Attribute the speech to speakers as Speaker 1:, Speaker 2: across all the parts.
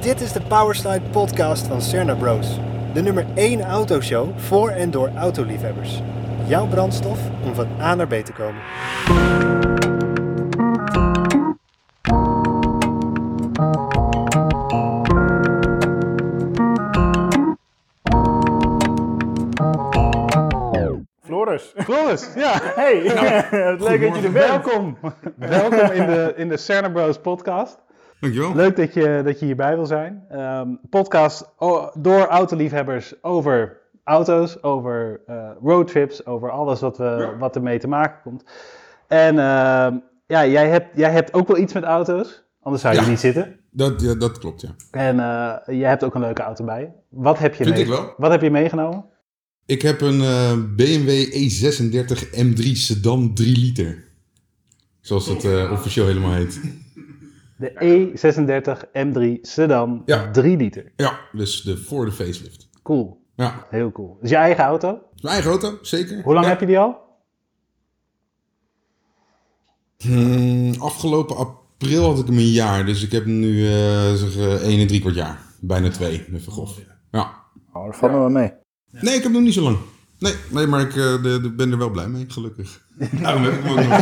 Speaker 1: Dit is de Powerslide podcast van Cerna Bros. De nummer 1 autoshow voor en door autoliefhebbers. Jouw brandstof om van A naar B te komen.
Speaker 2: Floris.
Speaker 3: Floris, ja.
Speaker 2: Hey, het leuk dat je er bent.
Speaker 3: Welkom. Welkom in de, in de Cerner Bros podcast.
Speaker 4: Dankjewel.
Speaker 3: Leuk dat je, dat je hierbij wil zijn. Ehm, podcast o- door autoliefhebbers over auto's, over eh, roadtrips, over alles wat, we, wat ermee te maken komt. En ehm, ja, jij hebt, jij hebt ook wel iets met auto's, anders zou je
Speaker 4: Ja.
Speaker 3: niet zitten.
Speaker 4: Dat, ja, dat klopt, ja.
Speaker 3: En eh jij hebt ook een leuke auto bij je. Wat heb je,
Speaker 4: Vind ik
Speaker 3: mee-
Speaker 4: wel.
Speaker 3: Wat heb je meegenomen?
Speaker 4: Ik heb een eh, BMW E36 M3 sedan 3 liter. Zoals dat eh, officieel helemaal heet.
Speaker 3: De E E36 M3 Sedan
Speaker 4: Ja.
Speaker 3: 3 liter.
Speaker 4: Ja, dus de, voor de facelift.
Speaker 3: Cool.
Speaker 4: Ja,
Speaker 3: Heel cool. Dus je eigen auto?
Speaker 4: is mijn eigen auto, zeker.
Speaker 3: Hoe lang
Speaker 4: Ja.
Speaker 3: heb je die al?
Speaker 4: Hmm, afgelopen april had ik hem een jaar, dus ik heb hem nu eh zeg, eh, 1 en drie kwart jaar. Bijna twee, even grof. Ja.
Speaker 2: Oh, daar vallen we mee.
Speaker 4: Nee, ik heb hem nog niet zo lang. Nee, nee maar ik eh, de- de- ben er wel blij mee, gelukkig. Daarom heb ik hem ook nog.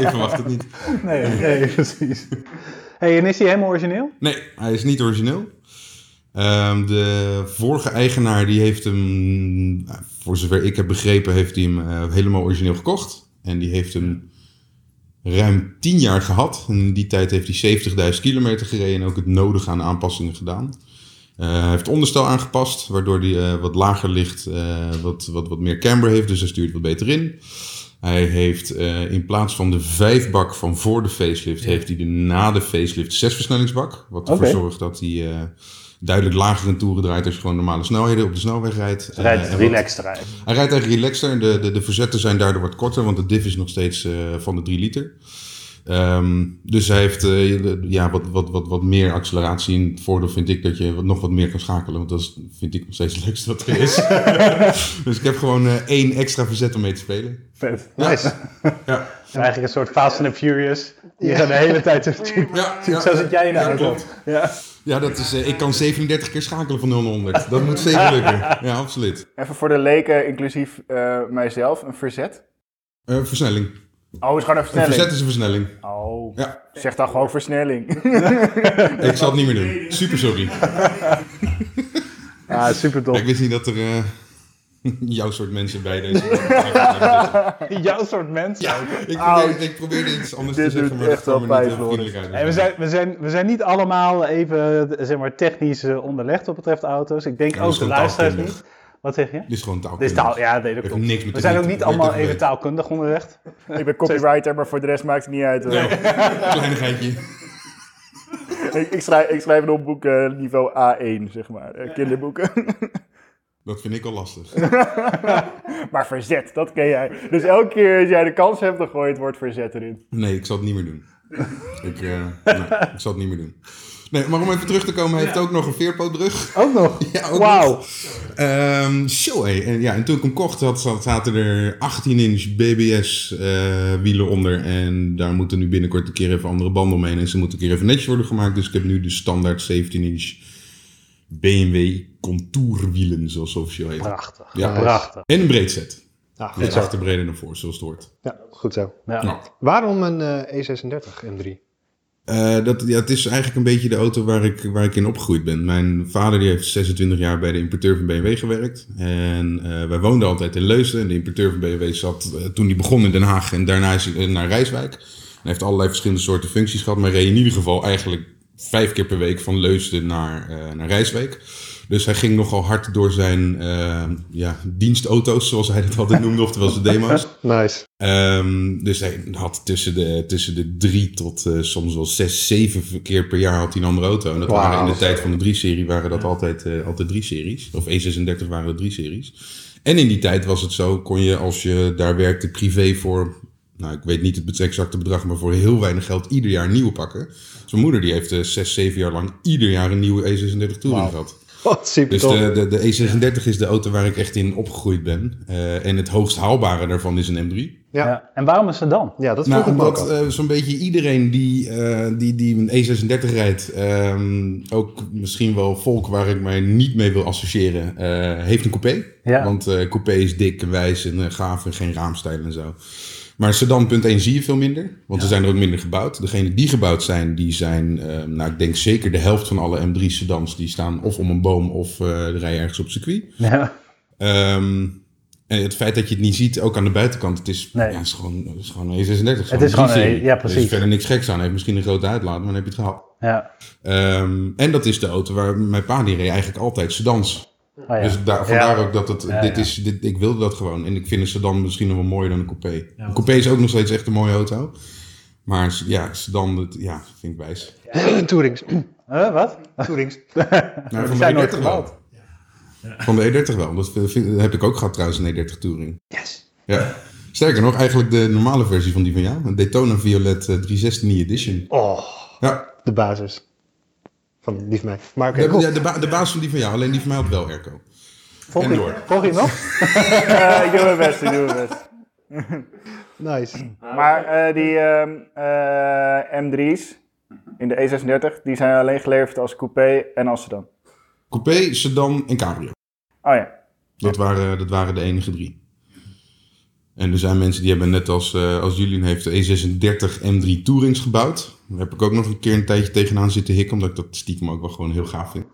Speaker 4: Ik verwacht het niet.
Speaker 3: Nee, nee precies. hey, en is die helemaal origineel?
Speaker 4: Nee, hij is niet origineel. Ehm, de vorige eigenaar die heeft hem, nou, voor zover ik heb begrepen, heeft hij hem eh, helemaal origineel gekocht. En die heeft hem ruim 10 jaar gehad. En in die tijd heeft hij 70.000 kilometer gereden en ook het nodige aan aanpassingen gedaan. Eh, hij heeft het onderstel aangepast, waardoor hij eh, wat lager ligt, eh, wat, wat, wat meer camber heeft, dus hij stuurt wat beter in. Hij heeft eh, in plaats van de vijfbak van voor de facelift, heeft hij de na de facelift zesversnellingsbak. Wat ervoor
Speaker 3: Oké.
Speaker 4: zorgt dat hij eh, duidelijk lager in toeren draait als je gewoon normale snelheden op de snelweg rijdt.
Speaker 3: Ze rijdt
Speaker 4: Eh, en wat-
Speaker 3: relaxed rijden.
Speaker 4: hij rijdt eigenlijk relaxter. De, de, de verzetten zijn daardoor wat korter, want de diff is nog steeds eh, van de 3 liter. Ehm, dus hij heeft eh, de- ja, wat, wat, wat, wat meer acceleratie. En het voordeel vind ik dat je wat- nog wat meer kan schakelen. Want dat is, vind ik nog steeds het leukste wat er is. dus ik heb gewoon eh, één extra verzet om mee te spelen.
Speaker 3: Vet. Nice.
Speaker 4: Ja,
Speaker 3: Het is Eigenlijk een soort Fast and the Furious. Je gaat de hele tijd er naartoe.
Speaker 4: ja,
Speaker 3: Zo zit jij in de
Speaker 4: ja,
Speaker 3: auto.
Speaker 4: klopt. Ja, dat is, eh, ik kan 37 keer schakelen van 0 naar 100. Dat moet zeker lukken. Ja, absoluut.
Speaker 2: Even voor de leken, inclusief eh, mijzelf, een verzet.
Speaker 4: Eh, versnelling.
Speaker 2: Oh, het is gewoon een
Speaker 4: Een
Speaker 2: versnelling.
Speaker 4: verzet is een versnelling.
Speaker 2: Oh,
Speaker 4: Ja,
Speaker 2: zeg dan gewoon versnelling.
Speaker 4: ik zal het niet meer doen. Super sorry.
Speaker 3: Ah, super
Speaker 4: Ja,
Speaker 3: tof.
Speaker 4: ik wist niet dat er eh, jouw soort mensen bij deze podcast waren.
Speaker 3: Jouw soort mensen.
Speaker 4: Ja, ik probeerde, ik probeerde iets anders
Speaker 2: Dit
Speaker 4: te zeggen,
Speaker 2: doet
Speaker 4: maar dat
Speaker 2: echt
Speaker 4: kwam
Speaker 2: wel
Speaker 4: er niet,
Speaker 2: pijn,
Speaker 4: eh,
Speaker 2: Floris.
Speaker 4: vriendelijk uit.
Speaker 3: En we, zijn, we, zijn, we zijn niet allemaal even eh, zeg maar, technisch eh, onderlegd wat betreft auto's. Ik denk
Speaker 4: Ja, dat
Speaker 3: ook
Speaker 4: is
Speaker 3: de
Speaker 4: gewoon
Speaker 3: luisteraars niet.
Speaker 4: taalkundig.
Speaker 3: Wat zeg je?
Speaker 4: Dit is gewoon taal.
Speaker 3: Dit is taal, ja, nee, dat
Speaker 4: Heeft
Speaker 3: klopt.
Speaker 4: niks met
Speaker 3: We
Speaker 4: de
Speaker 3: zijn ook
Speaker 4: wind-
Speaker 3: niet allemaal
Speaker 4: wind-
Speaker 3: even taalkundig onderlegd.
Speaker 2: Ik ben copywriter, maar voor de rest maakt het niet uit. hoor.
Speaker 4: Kleinigheidje.
Speaker 2: Ik, ik, schrijf, ik schrijf een opboek eh, niveau A1, zeg maar. eh, kinderboeken.
Speaker 4: Dat vind ik al lastig.
Speaker 2: maar verzet, dat ken jij. Dus elke keer als jij de kans hebt, dan gooi je het woord verzet erin.
Speaker 4: Nee, ik zal het niet meer doen. Ik, eh, nee, ik zal het niet meer doen. Nee, maar om even terug te komen, hij heeft ook nog een veerpootbrug.
Speaker 3: Ook nog.
Speaker 4: Ja, ook
Speaker 3: Wauw.
Speaker 4: nog. Ehm, zo, hé. En, ja, en toen ik hem kocht, had, zat- zaten er 18-inch BBS-wielen eh, onder. En daar moeten nu binnenkort een keer even andere banden omheen. En ze moeten een keer even netjes worden gemaakt. Dus ik heb nu de standaard 17-inch BMW contourwielen, zoals ze officieel heet.
Speaker 3: Prachtig.
Speaker 4: Ja.
Speaker 3: Prachtig.
Speaker 4: En een breedset.
Speaker 5: Ah, goed
Speaker 4: Dus
Speaker 5: zo.
Speaker 4: achterbreder naar voor, zoals het hoort.
Speaker 5: Ja, goed zo.
Speaker 3: Ja.
Speaker 4: Nou.
Speaker 5: Waarom een eh, E36 M3?
Speaker 4: Eh, dat, ja, het is eigenlijk een beetje de auto waar ik, waar ik in opgegroeid ben. Mijn vader die heeft 26 jaar bij de importeur van BMW gewerkt. En eh, wij woonden altijd in Leusden. En de importeur van BMW zat eh, toen hij begon in Den Haag en daarna is hij eh, naar Rijswijk. Hij heeft allerlei verschillende soorten functies gehad. Maar reed in ieder geval eigenlijk vijf keer per week van Leusden naar, eh, naar Rijswijk. Dus hij ging nogal hard door zijn eh, ja, dienstauto's, zoals hij dat altijd noemde, oftewel zijn demo's.
Speaker 5: Nice.
Speaker 4: Ehm, dus hij had tussen de, tussen de drie tot eh, soms wel zes, zeven keer per jaar had hij een andere auto. En dat waren in de tijd van de drie serie waren dat altijd, eh, altijd drie series. Of E36 waren dat drie series. En in die tijd was het zo, kon je als je daar werkte privé voor, nou ik weet niet het exacte bedrag, maar voor heel weinig geld ieder jaar een nieuwe pakken. Zijn moeder die heeft eh, zes, zeven jaar lang ieder jaar een nieuwe E36 Touring gehad.
Speaker 5: Wat super
Speaker 4: Dus
Speaker 5: tof.
Speaker 4: de, de, de E36 is de auto waar ik echt in opgegroeid ben. Eh, en het hoogst haalbare daarvan is een M3.
Speaker 5: Ja.
Speaker 3: Ja. En waarom een sedan?
Speaker 5: Ja, dat vroeg
Speaker 4: Nou,
Speaker 5: ik me ook
Speaker 4: omdat
Speaker 5: al.
Speaker 4: eh, zo'n beetje iedereen die, eh, die, die een E36 rijdt, ehm, ook misschien wel volk waar ik mij niet mee wil associëren, eh, heeft een coupé.
Speaker 3: Ja.
Speaker 4: Want eh, coupé is dik en wijs en eh, gaaf en geen raamstijl en zo. Maar sedan punt 1 zie je veel minder, want er zijn er ook minder gebouwd. Degene die gebouwd zijn, die zijn, eh, nou ik denk zeker de helft van alle M3 sedans, die staan of om een boom of eh rijden ergens op circuit.
Speaker 3: Ja.
Speaker 4: Ehm, en het feit dat je het niet ziet, ook aan de buitenkant, het is,
Speaker 3: Nee.
Speaker 4: ja, het is, gewoon, het is gewoon een E36. Het
Speaker 3: is gewoon een- E- ja, precies.
Speaker 4: Er is verder niks geks aan. Hij heeft misschien een grote uitlaat, maar dan heb je het gehad.
Speaker 3: ja.
Speaker 4: Ehm, en dat is de auto waar mijn pa die reed eigenlijk altijd sedans.
Speaker 3: Oh, ja.
Speaker 4: Dus daar, vandaar
Speaker 3: Ja.
Speaker 4: ook dat het,
Speaker 3: Ja,
Speaker 4: dit
Speaker 3: ja.
Speaker 4: is, dit, ik wilde dat gewoon. En ik vind een sedan misschien nog wel mooier dan een coupé. een coupé is ook nog steeds echt een mooie auto. Maar ja, sedan, dat, ja, vind ik wijs.
Speaker 5: Toerings.
Speaker 3: Huh, wat?
Speaker 5: Toerings.
Speaker 4: Nou,
Speaker 3: die
Speaker 4: van
Speaker 3: zijn
Speaker 4: de
Speaker 3: nooit
Speaker 4: E30 wel. Van de E30 wel. Dat vind- dat heb ik ook gehad trouwens, een E30 Touring.
Speaker 5: Yes.
Speaker 4: Ja. Sterker nog, eigenlijk de normale versie van die van jou. Een Daytona Violet eh, 316 E-Edition.
Speaker 5: Oh,
Speaker 4: Ja,
Speaker 5: de basis. Van lief mij. Maar oké,
Speaker 4: de,
Speaker 5: cool.
Speaker 4: ja, de, ba- de baas van die van jou. Alleen die van mij had wel airco.
Speaker 3: Volg
Speaker 4: En
Speaker 3: je,
Speaker 4: door.
Speaker 3: volg je nog?
Speaker 2: Eh, ik doe mijn best, ik doe mijn best.
Speaker 5: Nice.
Speaker 2: Maar eh, die ehm, eh, M3's in de E36, die zijn alleen geleverd als coupé en als sedan.
Speaker 4: Coupé, sedan en cabrio.
Speaker 2: Oh ja,
Speaker 4: Dat waren, dat waren de enige drie. En er zijn mensen die hebben net als, eh als Julian heeft de E36 M3 Tourings gebouwd. Daar heb ik ook nog een keer een tijdje tegenaan zitten hikken. Omdat ik dat stiekem ook wel gewoon heel gaaf vind.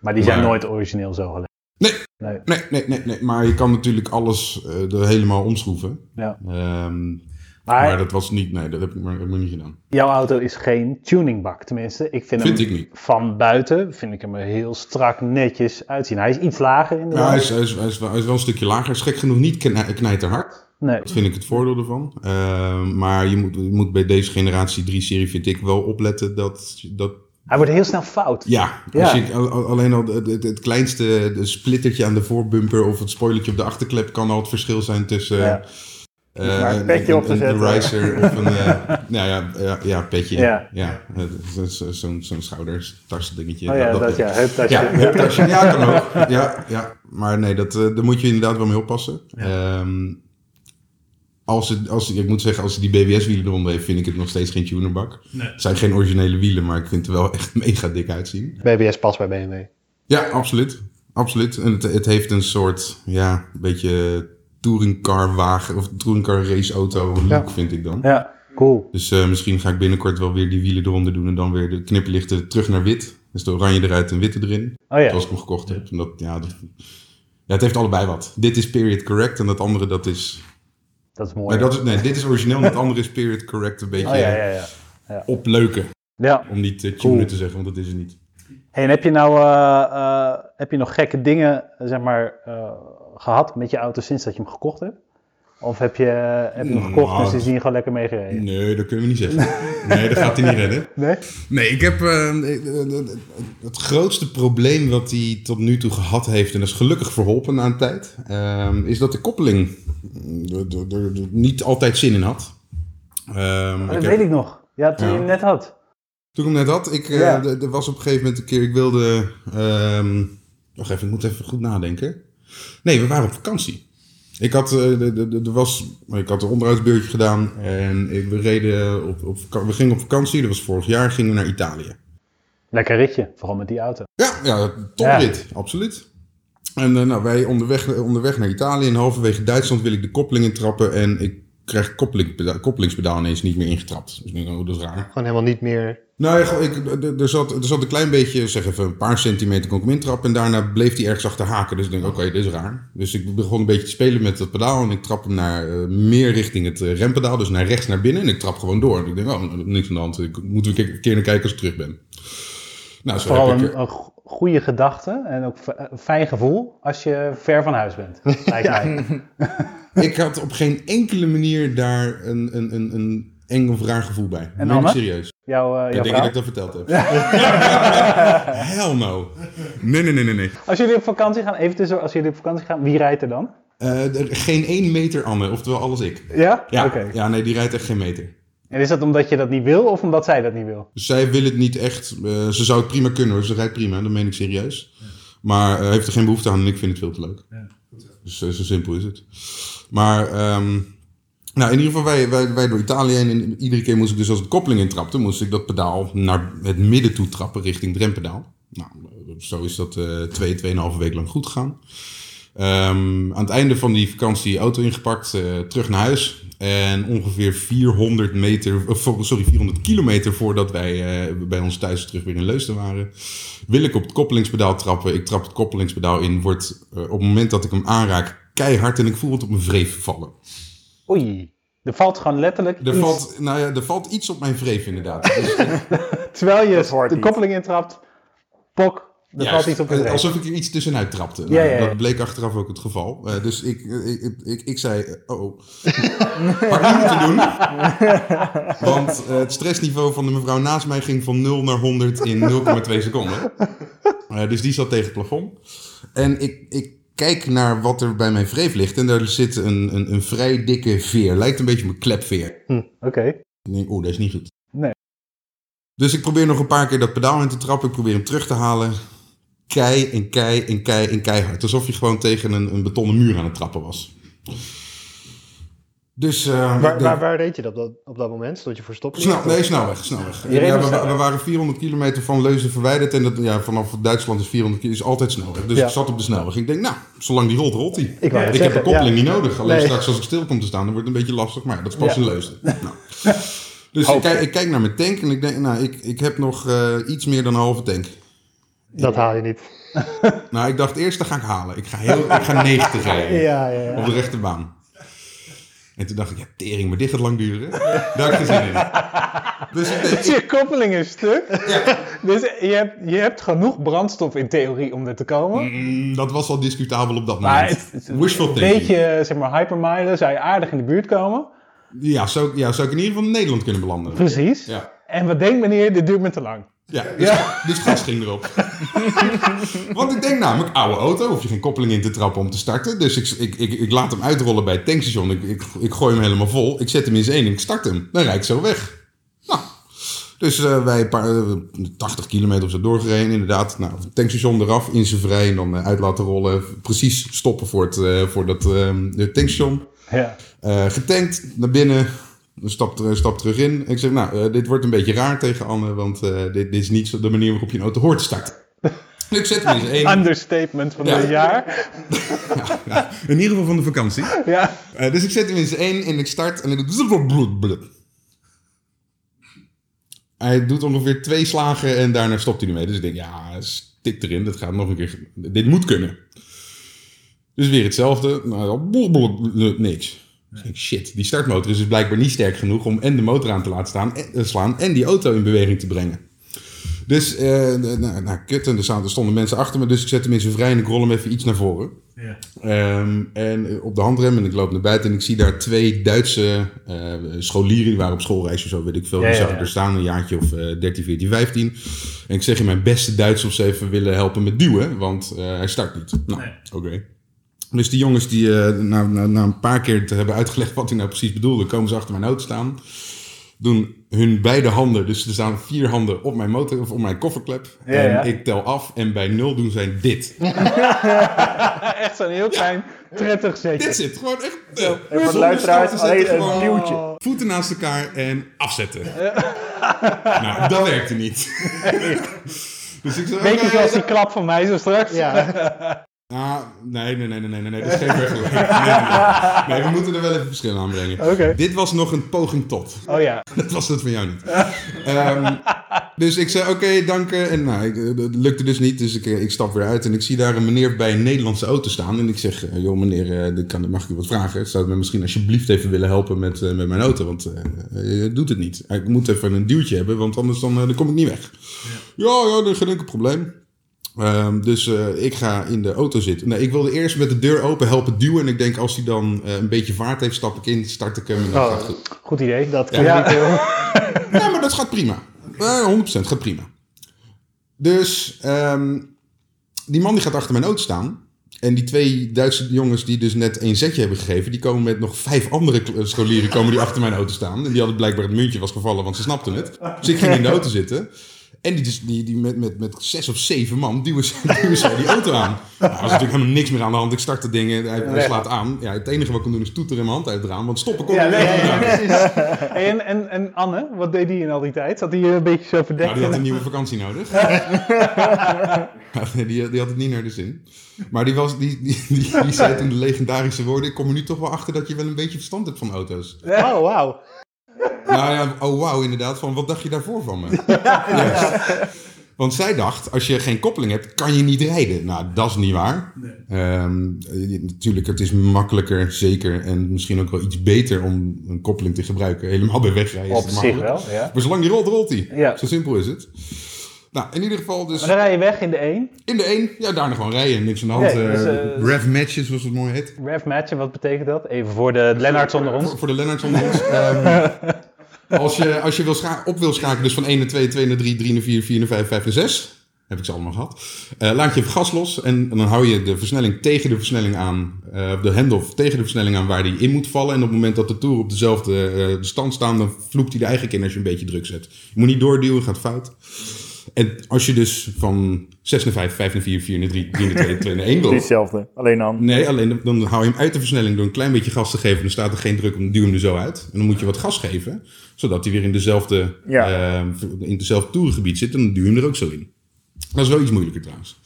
Speaker 3: Maar die zijn
Speaker 4: Maar-
Speaker 3: nooit origineel zo geleverd.
Speaker 4: Nee, nee, nee. nee. Maar je kan natuurlijk alles eh, er helemaal omschroeven.
Speaker 3: Ja.
Speaker 4: Ehm,
Speaker 3: Maar,
Speaker 4: maar dat was niet... Nee, dat heb ik maar, heb ik maar niet gedaan.
Speaker 3: jouw auto is geen tuningbak. Tenminste, ik vind
Speaker 4: Vind
Speaker 3: hem
Speaker 4: ik niet.
Speaker 3: van buiten vind ik hem er heel strak netjes uitzien. Hij is iets lager in de
Speaker 4: Ja, Nou, hij is, hij, is, hij, is wel, hij is wel een stukje lager. Is gek genoeg niet knij- knijterhard.
Speaker 3: Nee.
Speaker 4: Dat vind ik het voordeel ervan. Ehm, maar je moet, je moet bij deze generatie 3-serie, vind ik, wel opletten dat... dat
Speaker 3: Hij wordt heel snel fout.
Speaker 4: ja,
Speaker 3: Ja.
Speaker 4: Als je, al- al- alleen al het, het- het kleinste de splittertje aan de voorbumper... of het spoilertje op de achterklep kan al het verschil zijn tussen...
Speaker 3: Ja.
Speaker 4: eh,
Speaker 2: Maar een
Speaker 4: een-
Speaker 2: petje
Speaker 4: een-
Speaker 2: op te
Speaker 4: een-
Speaker 2: zetten.
Speaker 4: Een riser of een... eh, nou ja, ja, ja, petje.
Speaker 3: Ja.
Speaker 4: Ja. Eh, dat is, eh, Zo'n zo'n schouderstas dingetje.
Speaker 3: Oh ja, dat ja, heup, dat
Speaker 4: Ja,
Speaker 3: ja.
Speaker 4: huptasje. Ja, kan ook. Ja, ja. Maar nee, dat, eh, daar moet je inderdaad wel mee oppassen. Ehm, als het, als, ik moet zeggen, als het die BBS-wielen eronder heeft, vind ik het nog steeds geen tunerbak. Het zijn geen originele wielen, maar ik vind het er wel echt mega dik uitzien.
Speaker 5: BBS past bij BMW.
Speaker 4: Ja, absoluut. Absoluut. En het, het heeft een soort, ja, een beetje touringcar-wagen of touringcar raceauto look,
Speaker 5: Ja.
Speaker 4: vind ik dan.
Speaker 3: Ja, cool.
Speaker 4: Dus eh, misschien ga ik binnenkort wel weer die wielen eronder doen en dan weer de knipperlichten terug naar wit. Dus de oranje eruit en witte erin.
Speaker 3: Oh ja.
Speaker 4: Zoals ik hem gekocht heb. En dat, ja, dat, ja, het heeft allebei wat. Dit is period correct en dat andere dat is...
Speaker 3: Oh, Dat is mooi.
Speaker 4: Nee, dat is, nee dit is origineel en dat andere is period correct een beetje
Speaker 3: Oh ja, ja, ja.
Speaker 4: eh, opleuken.
Speaker 3: ja.
Speaker 4: Om niet uh,
Speaker 3: Cool.
Speaker 4: te zeggen, want dat is het niet.
Speaker 3: Hey, en heb je nou eh, eh, heb je nog gekke dingen eh, zeg maar, eh, gehad met je auto sinds dat je hem gekocht hebt? Of heb je, eh, heb je hem gekocht
Speaker 4: Nou,
Speaker 3: en sindsdien gewoon lekker meegereden?
Speaker 4: Nee, dat kunnen we niet zeggen. Nee, dat gaat hij niet redden.
Speaker 3: Nee?
Speaker 4: Nee, ik heb eh, eh, eh, het grootste probleem wat hij tot nu toe gehad heeft, en dat is gelukkig verholpen na een tijd, ehm, is dat de koppeling eh, er- er- er- er niet altijd zin in had. Ehm, ik
Speaker 3: Dat
Speaker 4: heb-
Speaker 3: weet ik nog. Ja, toen
Speaker 4: Ja.
Speaker 3: je hem net had.
Speaker 4: Toen ik hem net had, ik, eh,
Speaker 3: Ja.
Speaker 4: d- er was op een gegeven moment een keer, ik wilde... ehm wacht even, ik moet even goed nadenken. Nee, we waren op vakantie. Ik had, eh, de- de- de- er was, ik had een onderhoudsbeurtje gedaan en ik, we, reden op, op, vaka- we gingen op vakantie. Dat was vorig jaar, gingen we naar Italië.
Speaker 3: Lekker ritje, vooral met die auto.
Speaker 4: Ja, ja toprit, absoluut. En eh, nou, wij onderweg, onderweg naar Italië en halverwege Duitsland wil ik de koppeling intrappen en ik krijg koppeling, koppelingspedaal ineens niet meer ingetrapt. Dus ik denk, oh, dat is raar.
Speaker 5: Gewoon helemaal niet meer.
Speaker 4: Nou ja, ik, d- d- er, zat, er zat een klein beetje, zeg even een paar centimeter kon ik hem intrappen. En daarna bleef hij ergens achter haken. Dus ik denk, oké, dit is raar. Dus ik begon een beetje te spelen met dat pedaal. En ik trap hem naar, eh, meer richting het eh, rempedaal. Dus naar rechts naar binnen. En ik trap gewoon door. En ik denk, oh, niks aan de hand. Ik moet weer een keer naar kijken als ik terug ben. Nou, zo
Speaker 3: Vooral
Speaker 4: heb ik,
Speaker 3: een, een go- goede gedachte en ook fe- een fijn gevoel als je ver van huis bent. Lijkt mij.
Speaker 4: ik had op geen enkele manier daar een, een, een, een eng of raar gevoel bij. En
Speaker 3: Anne?
Speaker 4: serieus.
Speaker 3: Jouw, eh,
Speaker 4: Ik
Speaker 3: jouw
Speaker 4: denk dat
Speaker 3: vrouw.
Speaker 4: ik dat verteld heb. Hell no. Nee, nee, nee, nee. nee.
Speaker 3: Als jullie op vakantie gaan, even tussen, als jullie op vakantie gaan, wie rijdt er dan?
Speaker 4: Eh, er- geen één meter Anne, oftewel alles ik.
Speaker 3: Ja?
Speaker 4: Ja,
Speaker 3: Oké.
Speaker 4: ja, nee, die rijdt echt geen meter.
Speaker 3: En is dat omdat je dat niet wil of omdat
Speaker 4: Dus
Speaker 3: zij dat niet wil?
Speaker 4: Zij wil het niet echt. eh, ze zou het prima kunnen hoor, ze rijdt prima, dat meen ik serieus. Maar eh, heeft er geen behoefte aan en ik vind het veel te leuk. Dus eh, zo simpel is het. Maar ehm, nou, in ieder geval, wij, wij, wij door Italië heen. En iedere keer moest ik dus als ik koppeling intrapte, moest ik dat pedaal naar het midden toe trappen, richting drempedaal. Nou, zo is dat eh twee, tweeënhalve week lang goed gegaan. Ehm, aan het einde van die vakantie auto ingepakt, eh, terug naar huis. En ongeveer 400 meter, of, sorry, 400 kilometer voordat wij eh, bij ons thuis terug weer in Leusden waren, wil ik op het koppelingspedaal trappen. Ik trap het koppelingspedaal in, wordt eh, op het moment dat ik hem aanraak keihard en ik voel het op mijn wreef vallen.
Speaker 3: Oei. Er valt gewoon letterlijk
Speaker 4: Dus- Er
Speaker 3: iets-
Speaker 4: valt, nou ja, er valt iets op mijn wreef inderdaad. Dus,
Speaker 3: terwijl je
Speaker 2: Dat hoort
Speaker 3: de
Speaker 2: niet.
Speaker 3: koppeling intrapt, pok, er
Speaker 4: juist,
Speaker 3: valt iets op het
Speaker 4: eh,
Speaker 3: reet.
Speaker 4: Alsof ik er iets tussenuit trapte. Nou,
Speaker 3: Ja, ja, ja.
Speaker 4: Dat bleek achteraf ook het geval. Eh, dus ik, ik, ik, ik, ik zei, eh, oh, oh. had ik niet moeten doen. Want eh, het stressniveau van de mevrouw naast mij ging van 0 naar 100 in 0,2 seconden. Eh, dus die zat tegen het plafond. En ik, ik kijk naar wat er bij mijn wreef ligt. En daar zit een, een, een vrij dikke veer. Lijkt een beetje op een klepveer.
Speaker 3: Oké.
Speaker 4: Ik denk, oeh, dat is niet goed.
Speaker 3: Nee.
Speaker 4: Dus ik probeer nog een paar keer dat pedaal in te trappen. Ik probeer hem terug te halen. Kei en kei en kei en keihard. Alsof je gewoon tegen een, een betonnen muur aan het trappen was. Dus... eh, ik
Speaker 5: Waar,
Speaker 4: denk-
Speaker 5: waar, waar reed je dat op, dat op dat moment? Stond je voor stoppen?
Speaker 4: Snel, nee, snelweg. snelweg.
Speaker 3: Je reed
Speaker 4: Ja,
Speaker 3: nog
Speaker 4: we,
Speaker 3: snel.
Speaker 4: we waren 400 kilometer van Leuzen verwijderd. En dat, ja, vanaf Duitsland is 400 kilometer is altijd snelweg. Dus
Speaker 5: Ja.
Speaker 4: ik zat op de snelweg. Ik denk, nou, zolang die rolt, rolt die.
Speaker 5: Ik wou net
Speaker 4: Ik heb
Speaker 5: zeggen,
Speaker 4: de koppeling
Speaker 5: ja.
Speaker 4: niet nodig. Alleen
Speaker 5: Nee.
Speaker 4: straks als ik stil kom te staan, dan wordt het een beetje lastig. Maar ja, dat is pas
Speaker 3: Ja.
Speaker 4: een Leusden. Nou. Dus ik kijk, ik kijk naar mijn tank en ik denk, nou, ik, ik heb nog eh, iets meer dan een halve tank.
Speaker 5: Dat haal je niet.
Speaker 4: Nou, ik dacht eerst, dat ga ik halen. Ik ga, heel, ik ga 90 rijden
Speaker 5: Ja, ja, ja.
Speaker 4: op de rechterbaan. En toen dacht ik, ja, tering, maar dit gaat lang duren. Daar heb ik geen zin in. Dus ik denk,
Speaker 3: Je koppeling is stuk. Dus je hebt, je hebt genoeg brandstof in theorie om er te komen.
Speaker 4: Mm, dat was al discutabel op dat
Speaker 3: Maar
Speaker 4: moment.
Speaker 3: het, het-
Speaker 4: Wishful
Speaker 3: een
Speaker 4: thinking.
Speaker 3: beetje, eh, zeg maar, hypermilen zou je aardig in de buurt komen.
Speaker 4: Ja, zou, ja, zou ik in ieder geval in Nederland kunnen belanden.
Speaker 3: Precies.
Speaker 4: Ja,
Speaker 3: En wat denkt meneer, dit duurt me te lang.
Speaker 4: ja, dus, dus gas ging erop. Want ik denk namelijk, oude auto, hoef je geen koppeling in te trappen om te starten. Dus ik, ik, ik, ik laat hem uitrollen bij het tankstation. Ik, ik, ik gooi hem helemaal vol. Ik zet hem in zijn één en ik start hem. Dan rijd ik zo weg. Nou, dus eh, wij een paar, eh, 80 kilometer of zo doorgereden. Inderdaad, nou, tankstation eraf, in zijn vrij en dan eh, uit laten rollen. Precies stoppen voor, het, eh, voor dat eh, tankstation.
Speaker 3: Ja.
Speaker 4: Eh, getankt, naar binnen, een stap, ter- een stap terug in. Ik zeg, nou, eh, dit wordt een beetje raar tegen Anne, want eh, dit, dit is niet zo de manier waarop je een auto hoort te starten. En ik zet hem eens één.
Speaker 3: Understatement van
Speaker 4: Ja.
Speaker 3: dit jaar.
Speaker 4: Ja, in ieder geval van de vakantie.
Speaker 3: Ja.
Speaker 4: Eh, dus ik zet hem eens één en ik start en ik doe... zzzz, blub, blub. Hij doet ongeveer twee slagen en daarna stopt hij ermee. Dus ik denk, ja, stik erin, dat gaat nog een keer... ge- Dit moet kunnen. Dus weer hetzelfde. Nou, dan blub, blub, blub, niks. Dus ik denk, shit, die startmotor is dus blijkbaar niet sterk genoeg om en de motor aan te laten staan, en, eh, slaan en die auto in beweging te brengen. Dus, eh nou, nou, kut, en er staan- er stonden mensen achter me, dus ik zet hem in zijn vrij en ik rol hem even iets naar voren. Ehm, en eh, op de handrem en ik loop naar buiten en ik zie daar twee Duitse eh, scholieren, die waren op schoolreis of zo, weet ik veel.
Speaker 3: Ja,
Speaker 4: die
Speaker 3: ja,
Speaker 4: zag ik
Speaker 3: ja.
Speaker 4: er staan, een jaartje of eh 13, 14, 15. En ik zeg in mijn beste Duits of ze even willen helpen met duwen, want eh, hij start niet. Nou, oké. Dus die jongens die eh, na, na, na een paar keer te hebben uitgelegd wat hij nou precies bedoelde, komen ze achter mijn auto staan. Doen hun beide handen, dus er staan vier handen op mijn motor of op mijn kofferklep.
Speaker 3: Ja,
Speaker 4: en
Speaker 3: ja.
Speaker 4: ik tel af en bij nul doen zij dit.
Speaker 3: Echt zo'n heel klein, prettig zetje.
Speaker 4: Dit zit gewoon echt. eh,
Speaker 2: En voor de
Speaker 4: zonder
Speaker 2: luisteraars
Speaker 4: staal te zetten,
Speaker 2: alleen een
Speaker 4: gewoon
Speaker 2: duwtje.
Speaker 4: Voeten naast elkaar en afzetten. nou, dat werkte niet. dus ik zei.
Speaker 3: Beetje
Speaker 4: oké,
Speaker 3: zoals die klap van mij zo straks.
Speaker 5: Ja,
Speaker 4: Ah, nee, nee, nee, nee, nee, nee, nee, dat is geen vergelijking. Nee, nee, nee. Nee, we moeten er wel even verschil aan brengen.
Speaker 3: Oké.
Speaker 4: Dit was nog een poging tot.
Speaker 3: Oh ja.
Speaker 4: Dat was het van jou niet. Ehm, dus ik zei, oké, dank. eh, En nou, ik, eh, dat lukte dus niet. Dus ik, eh, ik stap weer uit en ik zie daar een meneer bij een Nederlandse auto staan. En ik zeg, eh, joh meneer, eh, dit kan, mag ik u wat vragen? Zou u me misschien alsjeblieft even willen helpen met, eh, met mijn auto? Want eh, eh, je doet het niet. Ik moet even een duwtje hebben, want anders dan, eh, dan kom ik niet weg. Ja, ja, dat is geen enkel probleem. Ehm, dus eh, ik ga in de auto zitten. Nee, ik wilde eerst met de deur open helpen duwen. En ik denk, als hij dan eh, een beetje vaart heeft, stap ik in, start ik hem. En dan gaat het goed.
Speaker 3: Goed idee.
Speaker 5: dat kan
Speaker 3: Ja.
Speaker 5: niet heel.
Speaker 4: Ja, maar dat gaat prima. Eh 100% gaat prima. Dus ehm, die man die gaat achter mijn auto staan. En die twee Duitse jongens die dus net één zetje hebben gegeven... die komen met nog vijf andere kl- eh, scholieren komen die achter mijn auto staan. En die hadden blijkbaar het muntje was gevallen, want ze snapten het. Dus ik ging in de auto zitten. En die, dus, die, die met, met, met zes of zeven man duwen ze, duwen ze die auto aan. Nou, er was natuurlijk helemaal niks meer aan de hand. Ik start dat ding, hij, hij
Speaker 2: Nee.
Speaker 4: slaat aan. Ja, het enige wat ik kon doen is toeteren in mijn hand uit het raam. Want stoppen kon
Speaker 3: Ja,
Speaker 4: ik
Speaker 3: nee, ja,
Speaker 4: niet.
Speaker 3: ja,
Speaker 4: Nou,
Speaker 3: precies. En, en, en Anne, wat deed die in al die tijd? Zat die een beetje zo verdekt?
Speaker 4: die
Speaker 2: Nou,
Speaker 4: had een nieuwe vakantie nodig. Ja, die, die had het niet naar de zin. Maar die, was, die, die, die, die zei toen de legendarische woorden... Ik kom er nu toch wel achter dat je wel een beetje verstand hebt van auto's.
Speaker 5: Oh, wauw.
Speaker 4: Nou ja, oh wauw, inderdaad. Van wat dacht je daarvoor van me? Juist. Want zij dacht, als je geen koppeling hebt, kan je niet rijden. Nou, dat is niet waar. Ehm, eh, natuurlijk, het is makkelijker, zeker. En misschien ook wel iets beter om een koppeling te gebruiken. Helemaal bij wegrijden
Speaker 2: Op
Speaker 4: is het
Speaker 2: zich
Speaker 4: makkelijk.
Speaker 2: wel, ja.
Speaker 4: Maar zolang je rolt, rolt hij.
Speaker 3: Ja.
Speaker 4: Zo simpel is het. Nou, in ieder geval dus
Speaker 3: Maar dan rij je weg in de 1.
Speaker 4: in de één. Ja, daarna gewoon rijden. Niks aan de hand.
Speaker 3: Nee, dus,
Speaker 4: Eh,
Speaker 3: eh,
Speaker 4: rev matches, zoals het mooi heet.
Speaker 3: Rev matchen, wat betekent dat? Even voor de Lennarts onder ons.
Speaker 4: Voor, voor de Lennarts onder ons. ehm, als je, als je wil scha- op wil schakelen, dus van 1 naar 2, 2 naar 3, 3 naar 4, 4 naar 5, 5 naar 6. Heb ik ze allemaal gehad. Eh, laat je even gas los en, en dan hou je de versnelling tegen de versnelling aan. eh, de handoff tegen de versnelling aan waar die in moet vallen. En op het moment dat de toer op dezelfde eh, stand staan, dan vloekt hij er eigenlijk in als je een beetje druk zet. Je moet niet doorduwen, gaat fout. En als je dus van 6 naar 5, 5 naar 4, 4 naar 3, 3 naar 2, 2 naar 1 wil.
Speaker 2: Hetzelfde. Alleen dan.
Speaker 4: Nee, alleen dan, dan hou je hem uit de versnelling door een klein beetje gas te geven. Dan staat er geen druk om, dan duw hem er zo uit. En dan moet je wat gas geven, zodat hij weer in dezelfde,
Speaker 2: Ja.
Speaker 4: eh, in hetzelfde toerengebied zit. En dan duw je hem er ook zo in. Dat is wel iets moeilijker trouwens.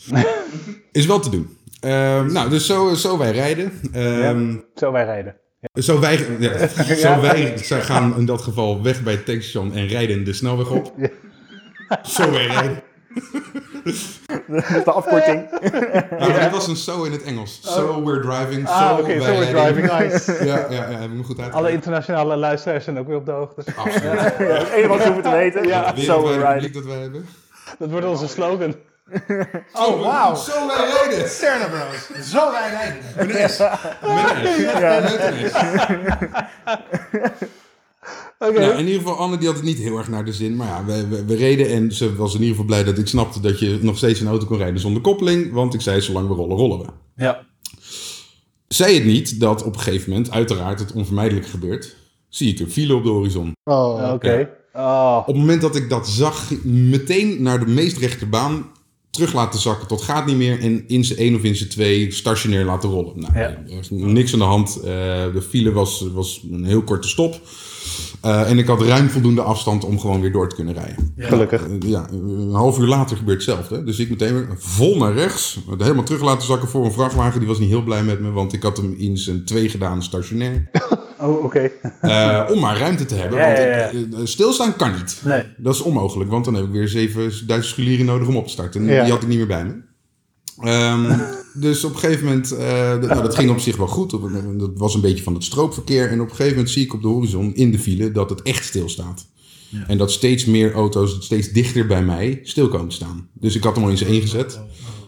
Speaker 4: is wel te doen. Ehm, nou, dus zo, zo wij rijden. Ehm,
Speaker 3: Zo wij rijden.
Speaker 4: Zo wij, ja, zo wij zij gaan in dat geval weg bij het tankstation en rijden de snelweg op. Zo wij rijden.
Speaker 2: Dat is de afkorting.
Speaker 4: Nou, maar Het was een so in het Engels. So we're driving, so
Speaker 3: Oh. Ah, oké,
Speaker 4: wij
Speaker 3: zo is
Speaker 4: rijden.
Speaker 3: driving. Nice.
Speaker 4: Ja, ja, ja, heb ik me goed uit.
Speaker 3: Alle internationale luisteraars zijn ook weer op de hoogte.
Speaker 4: Absoluut.
Speaker 2: Ja, het enige wat ze hoeven te weten. Ja, so
Speaker 4: wereldwijde
Speaker 2: we're riding.
Speaker 4: publiek dat wij hebben.
Speaker 3: Dat wordt onze slogan.
Speaker 4: Oh, wauw. Zo wij rijden.
Speaker 1: Cerner Bros. Zo wij rijden.
Speaker 4: Met een S. Met een S. Met een S.
Speaker 3: Oké.
Speaker 4: Nou, in ieder geval, Anne die had het niet heel erg naar de zin. Maar ja, we, we, we reden en ze was in ieder geval blij dat ik snapte dat je nog steeds een auto kon rijden zonder koppeling. Want ik zei, zolang we rollen, rollen we.
Speaker 3: Ja.
Speaker 4: Zij het niet dat op een gegeven moment, uiteraard, het onvermijdelijk gebeurt. Zie ik een file op de horizon.
Speaker 5: Oh,
Speaker 3: Oké. Oh.
Speaker 4: Op het moment dat ik dat zag, meteen naar de meest rechte baan terug laten zakken tot gaat niet meer. En in z'n 1 of in z'n 2 stationair laten rollen. Nou,
Speaker 3: Ja.
Speaker 4: er was niks aan de hand. Eh, de file was, was een heel korte stop. Eh, en ik had ruim voldoende afstand om gewoon weer door te kunnen rijden.
Speaker 5: gelukkig.
Speaker 4: Eh, ja, een half uur later gebeurt hetzelfde. Dus ik meteen weer vol naar rechts. Helemaal terug laten zakken voor een vrachtwagen. Die was niet heel blij met me, want ik had hem in zijn 2 gedaan stationair.
Speaker 3: Oh, oké.
Speaker 4: Eh, om maar ruimte te hebben.
Speaker 3: Ja,
Speaker 4: want
Speaker 3: ja,
Speaker 4: ik- eh, stilstaan kan niet.
Speaker 3: Nee.
Speaker 4: Dat is onmogelijk, want dan heb ik weer 7000 scholieren nodig om op te starten. En
Speaker 5: Ja.
Speaker 4: Die had ik niet meer bij me. Ehm, dus op een gegeven moment, eh, d- nou, dat ging op zich wel goed. Op- Dat was een beetje van het stroopverkeer. En op een gegeven moment zie ik op de horizon in de file dat het echt stilstaat. En dat steeds meer auto's steeds dichter bij mij stil komen te staan. Dus ik had hem al eens ingezet.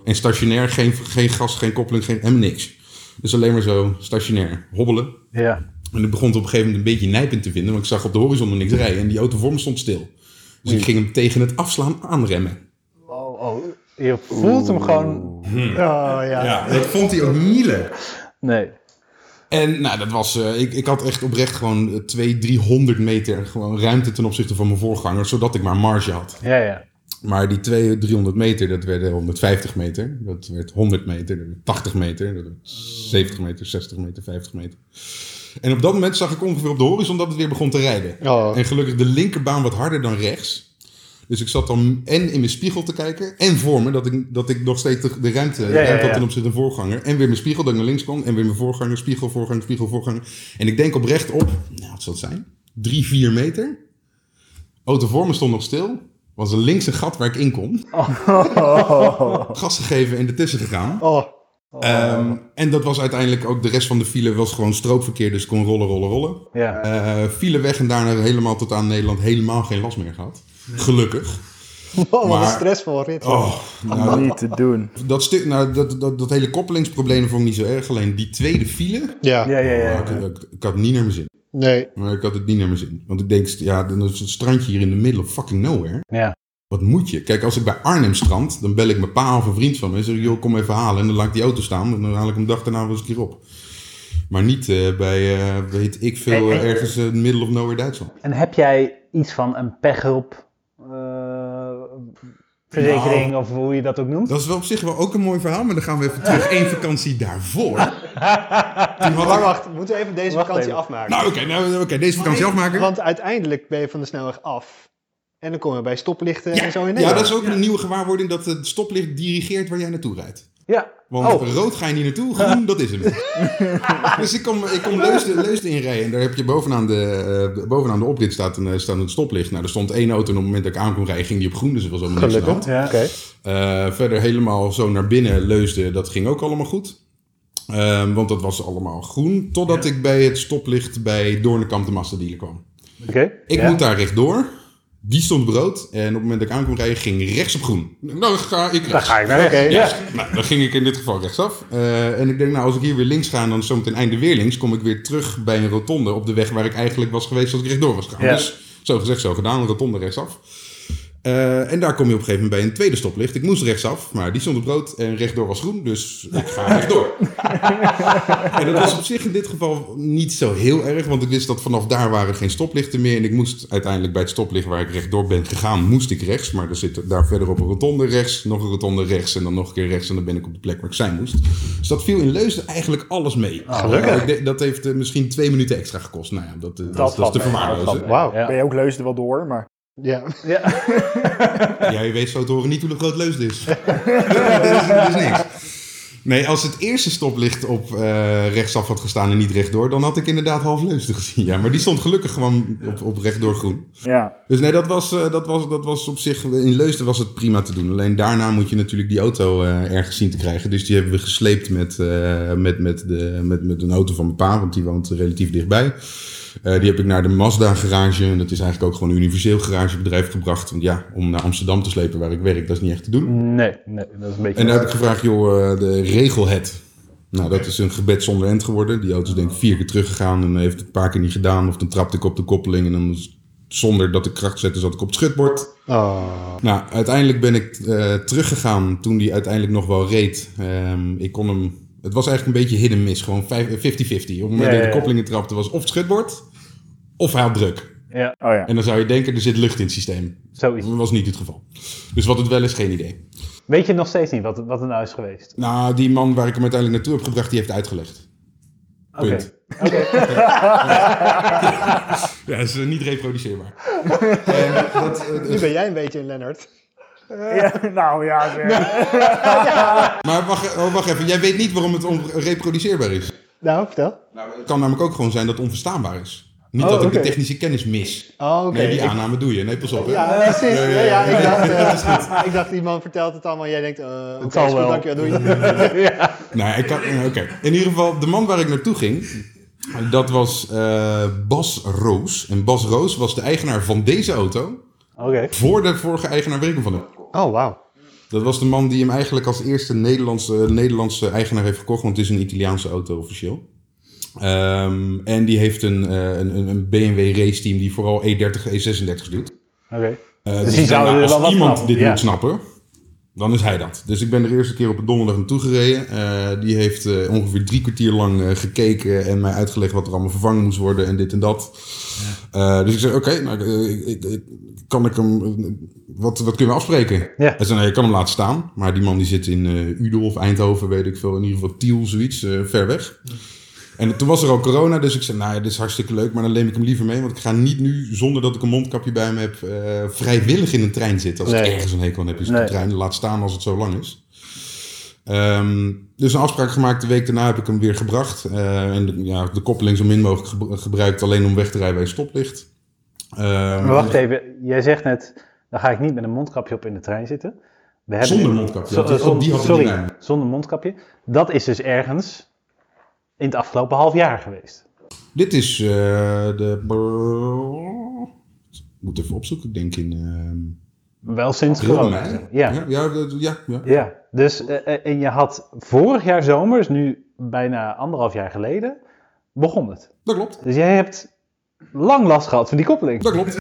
Speaker 4: En stationair, geen, geen gas, geen koppeling, geen, helemaal niks. Dus alleen maar zo stationair hobbelen.
Speaker 3: Ja.
Speaker 4: En ik begon het op een gegeven moment een beetje nijpend te vinden, want ik zag op de horizon nog niks rijden en die auto voor me stond stil. Dus ik ging hem tegen het afslaan aanremmen.
Speaker 3: Oh, oh. Je voelt hem gewoon...
Speaker 2: Hmm.
Speaker 5: Oh, ja.
Speaker 4: Ja, ik vond die ook niet leuk.
Speaker 3: Nee.
Speaker 4: En nou, dat was, eh, ik, ik had echt oprecht gewoon eh, 200, 300 meter gewoon ruimte ten opzichte van mijn voorganger, zodat ik maar marge had.
Speaker 3: Ja, ja.
Speaker 4: Maar die 200, 300 meter, dat werden 150 meter. Dat werd 100 meter, dat werd 80 meter, dat werd 70 meter, 60 meter, 50 meter. En op dat moment zag ik ongeveer op de horizon dat het weer begon te rijden.
Speaker 5: Oh.
Speaker 4: En gelukkig de linkerbaan wat harder dan rechts. Dus ik zat dan en in mijn spiegel te kijken en voor me dat ik, dat ik nog steeds de, de ruimte,
Speaker 3: ja,
Speaker 4: ruimte had
Speaker 3: ja.
Speaker 4: ten opzichte van de voorganger. En weer mijn spiegel dat ik naar links kon en weer mijn voorganger, spiegel, voorganger, spiegel, voorganger. En ik denk oprecht op, nou wat zal het zijn, drie, vier meter. Auto voor me stond nog stil. Was er links een gat waar ik in kon.
Speaker 3: Oh.
Speaker 4: Gas gegeven en ertussen gegaan.
Speaker 5: Oh,
Speaker 4: Ehm, en dat was uiteindelijk ook de rest van de file was gewoon stroopverkeer. Dus kon rollen, rollen, rollen.
Speaker 3: Ja.
Speaker 4: Eh, file weg en daarna helemaal tot aan Nederland helemaal geen last meer gehad. Gelukkig.
Speaker 5: wow, Oh, wat
Speaker 4: Maar-
Speaker 5: een stressvol rit.
Speaker 4: Oh, nou,
Speaker 2: Niet te doen.
Speaker 4: dat, stuk, nou, dat, dat, dat hele koppelingsprobleem vond ik niet zo erg. Alleen die tweede file,
Speaker 5: Ja.
Speaker 3: Ja, ja, ja.
Speaker 4: nou, ik, ik, ik had het niet naar mijn zin.
Speaker 5: nee.
Speaker 4: Maar ik had het niet naar mijn zin. Want ik denk, ja, dan is het strandje hier in de middle of fucking nowhere.
Speaker 3: Ja.
Speaker 4: Wat moet je? Kijk, als ik bij Arnhem strand, dan bel ik mijn pa of een vriend van me en zeg ik, joh, kom even halen. En dan laat ik die auto staan en dan haal ik hem dag daarna wel eens een keer op. Maar niet eh, bij, eh, weet ik veel,
Speaker 3: Hey, hey.
Speaker 4: ergens eh, in middle of nowhere Duitsland.
Speaker 3: En heb jij iets van een pechhulp eh, verzekering of hoe je dat ook noemt.
Speaker 4: Dat is wel op zich wel ook een mooi verhaal, maar dan gaan we even terug. Eén vakantie daarvoor. Toen had
Speaker 5: Maar
Speaker 4: ik-
Speaker 5: wacht, we moeten even deze
Speaker 3: Wacht
Speaker 5: vakantie
Speaker 3: even.
Speaker 5: afmaken.
Speaker 4: Nou, oké, nou, oké, deze vakantie afmaken.
Speaker 5: Want uiteindelijk ben je van de snelweg af. En dan kom je bij stoplichten en zo in
Speaker 4: Ja,
Speaker 5: Nederland.
Speaker 4: dat is ook een nieuwe gewaarwording dat het stoplicht dirigeert waar jij naartoe rijdt.
Speaker 3: Ja.
Speaker 4: Want
Speaker 3: Oh.
Speaker 4: rood ga je niet naartoe, groen, dat is hem. dus ik kom, ik kom Leusden, Leusden inrijden en daar heb je bovenaan de, eh, bovenaan de oprit staat een, eh, staat een stoplicht. Nou, er stond één auto en op het moment dat ik aankwam rijden, ging die op groen, dus er was allemaal niks aan de hand.
Speaker 3: Ja.
Speaker 4: Eh, verder helemaal zo naar binnen Leusden, dat ging ook allemaal goed. Ehm, want dat was allemaal groen, totdat ik bij het stoplicht bij Doornekamp de Masterdealer kwam.
Speaker 3: Oké.
Speaker 4: Ik
Speaker 3: Ja.
Speaker 4: moet daar rechtdoor. Die stond brood. En op het moment dat ik aankwam rijden, ging rechts op groen. Nou, dan ga ik
Speaker 3: Daar
Speaker 4: rechts.
Speaker 3: ga ik naar rechts.
Speaker 5: Oké.
Speaker 3: Ja.
Speaker 4: Nou, dan ging ik in dit geval rechtsaf. Eh, en ik denk, nou, als ik hier weer links ga en dan zometeen einde weer links, kom ik weer terug bij een rotonde op de weg waar ik eigenlijk was geweest als ik rechtdoor was gegaan.
Speaker 3: Ja.
Speaker 4: Dus zo gezegd, zo gedaan, rotonde rechtsaf. Eh, en daar kom je op een gegeven moment bij een tweede stoplicht. Ik moest rechtsaf, maar die stond op rood en rechtdoor was groen, dus ik ga rechtdoor. en dat was op zich in dit geval niet zo heel erg, want ik wist dat vanaf daar waren geen stoplichten meer. En ik moest uiteindelijk bij het stoplicht waar ik rechtdoor ben gegaan, moest ik rechts. Maar er zit daar verder op een rotonde rechts, nog een rotonde rechts en dan nog een keer rechts. En dan ben ik op de plek waar ik zijn moest. Dus dat viel in Leusden eigenlijk alles mee.
Speaker 3: Ah, gelukkig.
Speaker 4: Ik denk- Dat heeft eh, misschien twee minuten extra gekost. Nou ja, dat, eh, dat, dat, is dus.
Speaker 3: valt
Speaker 4: te
Speaker 3: mee, dat
Speaker 4: verwaarlozen.
Speaker 3: valt
Speaker 5: Wauw.
Speaker 3: Ja.
Speaker 2: Ben je ook leusden wel door, maar...
Speaker 5: Ja.
Speaker 3: Ja.
Speaker 4: Jij weet zo te horen niet hoe de groot Leusden is. dat, is dat is niks. Nee, als het eerste stoplicht op eh, rechtsaf had gestaan en niet rechtdoor, dan had ik inderdaad half Leusden gezien. Ja, maar die stond gelukkig gewoon op, op rechtdoor groen.
Speaker 2: Ja,
Speaker 4: Dus nee, dat was, eh, dat, was, dat was op zich, in Leusden was het prima te doen. Alleen daarna moet je natuurlijk die auto eh, ergens zien te krijgen. Dus die hebben we gesleept met, eh, met, met, de, met, met een auto van mijn pa, want die woont relatief dichtbij. Eh, die heb ik naar de Mazda garage, en dat is eigenlijk ook gewoon een universeel garagebedrijf gebracht. Want ja, om naar Amsterdam te slepen waar ik werk, dat is niet echt te doen.
Speaker 3: Nee, nee, dat is een beetje...
Speaker 4: En daar heb ik gevraagd, joh, eh, de regelhead. Nou, dat is een gebed zonder end geworden. Die auto is denk ik vier keer teruggegaan en heeft het een paar keer niet gedaan. Of dan trapte ik op de koppeling en dan s- zonder dat ik kracht zette zat ik op het schutbord.
Speaker 5: Oh.
Speaker 4: Nou, uiteindelijk ben ik eh, teruggegaan toen die uiteindelijk nog wel reed. Ehm, ik kon hem... Het was eigenlijk een beetje hit en miss. Gewoon vijf- eh, 50-50. Op het moment
Speaker 3: Ja,
Speaker 4: dat
Speaker 3: ja,
Speaker 4: ik de
Speaker 3: ja.
Speaker 4: koppelingen trapte was of het schutbord of hij had druk.
Speaker 3: Ja,
Speaker 2: oh ja.
Speaker 4: En dan zou je denken, er zit lucht in het systeem.
Speaker 3: zoiets.
Speaker 4: Dat was niet het geval. Dus wat het wel is, geen idee.
Speaker 3: Weet je nog steeds niet wat, wat er nou is geweest?
Speaker 4: Nou, die man waar ik hem uiteindelijk naartoe heb gebracht, die heeft uitgelegd.
Speaker 3: Oké.
Speaker 4: Punt. Ja, dat is eh, niet reproduceerbaar. Eh, dat, eh,
Speaker 5: Nu ben jij een beetje een Lennart.
Speaker 2: Ja, nou ja, zeg.
Speaker 4: maar wacht, oh, wacht even, jij weet niet waarom het onreproduceerbaar is.
Speaker 5: Nou, vertel.
Speaker 4: Het kan namelijk ook gewoon zijn dat het onverstaanbaar is. Niet
Speaker 3: Oh,
Speaker 4: dat ik
Speaker 3: oké.
Speaker 4: de technische kennis mis.
Speaker 5: Oh, oké.
Speaker 4: Nee, die
Speaker 5: Ik-
Speaker 4: aanname doe je. Nee, pas op. Hè.
Speaker 5: Ja, precies. Ja, ja,
Speaker 4: ja,
Speaker 5: Ik, dacht, eh, ik dacht, die man vertelt het allemaal. Jij denkt, eh oké,
Speaker 3: zal
Speaker 5: is goed,
Speaker 3: wel.
Speaker 5: dankjewel, doei.
Speaker 4: Nou, ik kan, eh, oké. In ieder geval, de man waar ik naartoe ging, dat was eh, Bas Roos. En Bas Roos was de eigenaar van deze auto.
Speaker 3: Oké.
Speaker 4: Voor de vorige eigenaar werken van hem.
Speaker 5: Oh, wauw.
Speaker 4: Dat was de man die hem eigenlijk als eerste Nederlandse, Nederlandse eigenaar heeft gekocht. Want het is een Italiaanse auto officieel. Ehm, en die heeft een, eh, een, een- een BMW race team die vooral E E30, E36 doet.
Speaker 3: Oké.
Speaker 4: Eh,
Speaker 3: Dus die zouden
Speaker 4: ik denk, nou,
Speaker 3: er wel
Speaker 4: als
Speaker 3: wat
Speaker 4: iemand
Speaker 3: snappen,
Speaker 4: dit
Speaker 3: ja.
Speaker 4: moet snappen, dan is hij dat. Dus ik ben er eerste keer op een donderdag naartoe gereden. Eh, die heeft eh, ongeveer drie kwartier lang eh, gekeken en mij uitgelegd wat er allemaal vervangen moest worden en dit en dat. Eh, dus ik zei, oké, nou, eh, ik- ik- ik- kan ik hem, wat, wat kunnen we afspreken?
Speaker 3: Ja.
Speaker 4: Hij zei, nou, je kan hem laten staan. Maar die man die zit in eh Udel of Eindhoven, weet ik veel. In ieder geval Tiel, zoiets, eh, ver weg. En toen was er al corona, dus ik zei, nou ja, dit is hartstikke leuk, maar dan neem ik hem liever mee. Want ik ga niet nu, zonder dat ik een mondkapje bij me heb, eh, vrijwillig in een trein zitten. Als ik
Speaker 3: Nee.
Speaker 4: ergens een hekel aan heb, is
Speaker 3: Nee.
Speaker 4: de trein. Laat staan als het zo lang is. Ehm, dus een afspraak gemaakt, de week daarna heb ik hem weer gebracht. Eh, en de, ja, de koppeling zo min mogelijk gebru- gebruikt, alleen om weg te rijden bij een stoplicht. Ehm,
Speaker 3: Maar wacht even, jij zegt net, dan ga ik niet met een mondkapje op in de trein zitten. We hebben
Speaker 4: Zonder mondkapje.
Speaker 3: Zo-
Speaker 4: Oh, die had
Speaker 3: zon-
Speaker 4: ik niet
Speaker 3: sorry,
Speaker 4: bij me.
Speaker 3: zonder mondkapje. Dat is dus ergens in het afgelopen half jaar geweest.
Speaker 4: Dit is eh, de... Ik moet even opzoeken, ik denk in... ehm
Speaker 3: Wel sinds
Speaker 4: april,
Speaker 3: corona.
Speaker 4: mei.
Speaker 3: Ja.
Speaker 4: Ja, ja, dat- ja, ja.
Speaker 3: Ja, dus eh, eh, en je had vorig jaar zomer, dus nu bijna anderhalf jaar geleden, begon het.
Speaker 4: dat klopt.
Speaker 3: Dus jij hebt lang last gehad van die koppeling.
Speaker 4: Dat klopt.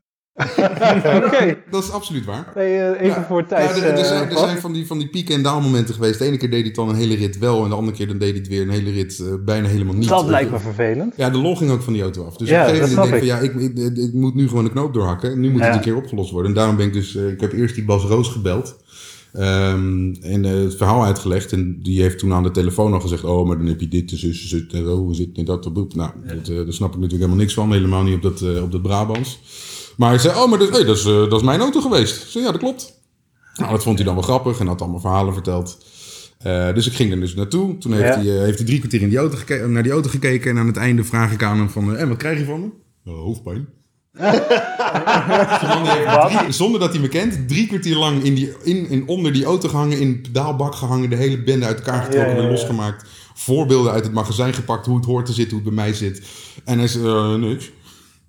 Speaker 3: Oké.
Speaker 4: Dat is absoluut waar.
Speaker 3: Nee, eh, even
Speaker 4: Ja.
Speaker 3: voor
Speaker 4: Ja,
Speaker 3: tijd.
Speaker 4: er, er zijn, er zijn van die, van die pieken- en daalmomenten geweest. De ene keer deed hij het dan een hele rit wel. En de andere keer dan deed hij het weer een hele rit eh, bijna helemaal niet.
Speaker 3: dat lijkt me vervelend.
Speaker 4: Ja, de lol ging ook van die auto af. Dus
Speaker 3: Ja,
Speaker 4: op een gegeven
Speaker 3: dat
Speaker 4: moment denk ik van ja, ik, ik, ik moet nu gewoon de knoop doorhakken. En nu moet
Speaker 3: Ja.
Speaker 4: het een keer opgelost worden. En daarom ben ik dus, eh, ik heb eerst die Bas Roos gebeld. Ehm, en eh, het verhaal uitgelegd. En die heeft toen aan de telefoon al gezegd: Oh, maar dan heb je dit, dus zus, zus, en zo, hoe zit en dat, en boep. Nou, dat, eh, daar snap ik natuurlijk helemaal niks van. Helemaal niet op dat, eh, op dat Brabants. Maar hij zei: Oh, maar dat, hey, dat, is, eh, dat is mijn auto geweest. Ik zei: Ja, dat klopt. Nou, dat vond hij dan wel grappig en had allemaal verhalen verteld. Eh, dus ik ging er dus naartoe. Toen heeft,
Speaker 2: Ja.
Speaker 4: hij, eh, heeft hij drie kwartier in die auto geke- naar die auto gekeken. En aan het einde vraag ik aan hem van... eh, en wat krijg je van me? "Eh, hoofdpijn. Die man die heeft drie- zonder dat hij me kent, drie kwartier lang in die, in, in, onder die auto gehangen, in een pedaalbak gehangen, de hele bende uit elkaar getrokken,
Speaker 3: Ja, ja,
Speaker 4: weer
Speaker 3: ja.
Speaker 4: losgemaakt. Voorbeelden uit het magazijn gepakt, hoe het hoort te zitten, hoe het bij mij zit. En hij zei, eh, niks.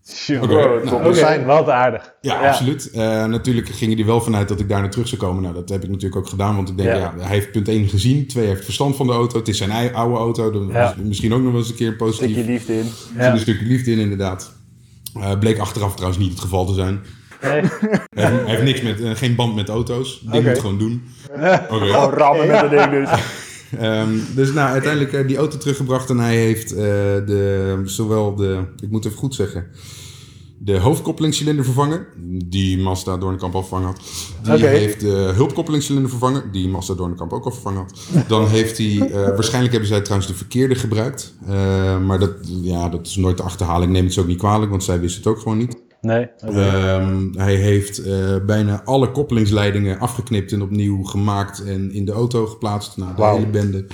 Speaker 3: Tjoh.
Speaker 4: Oké,
Speaker 3: Oké,
Speaker 4: nou,
Speaker 2: top.
Speaker 4: dus-
Speaker 5: zijn.
Speaker 3: wat aardig.
Speaker 4: ja,
Speaker 2: Ja.
Speaker 4: absoluut. Eh, natuurlijk gingen die wel vanuit dat ik daar naar terug zou komen. Nou, dat heb ik natuurlijk ook gedaan. Want ik denk,
Speaker 2: Ja.
Speaker 4: ja. hij heeft punt 1 gezien. Twee, hij heeft verstand van de auto. Het is zijn ei- oude auto. Dan
Speaker 3: Ja.
Speaker 4: is Misschien ook nog wel eens een keer positief.
Speaker 2: Stukje
Speaker 4: Er
Speaker 2: liefde in.
Speaker 4: zit
Speaker 3: Ja.
Speaker 4: een stukje liefde in, inderdaad. Eh, bleek achteraf trouwens niet het geval te zijn.
Speaker 3: Nee.
Speaker 4: Hij heeft, hij heeft niks met, eh, geen band met auto's. Die moet het gewoon doen. Oké.
Speaker 2: Gewoon rammen met dat ding dus.
Speaker 4: Ehm, dus nou, uiteindelijk eh, die auto teruggebracht en hij heeft eh, de, zowel de, ik moet even goed zeggen, de hoofdkoppelingscilinder vervangen, die Mazda Doornkamp al vervangen had. Die
Speaker 2: Oké.
Speaker 4: heeft de hulpkoppelingscilinder vervangen, die Mazda Doornkamp ook al vervangen had. Dan heeft hij, eh, waarschijnlijk hebben zij trouwens de verkeerde gebruikt, Eh, maar dat, ja, dat is nooit te achterhalen. Ik neem het ze ook niet kwalijk, want zij wist het ook gewoon niet.
Speaker 3: Nee.
Speaker 4: Ehm, hij heeft eh, bijna alle koppelingsleidingen afgeknipt en opnieuw gemaakt en in de auto geplaatst. Nou, de
Speaker 3: Wauw.
Speaker 4: hele bende.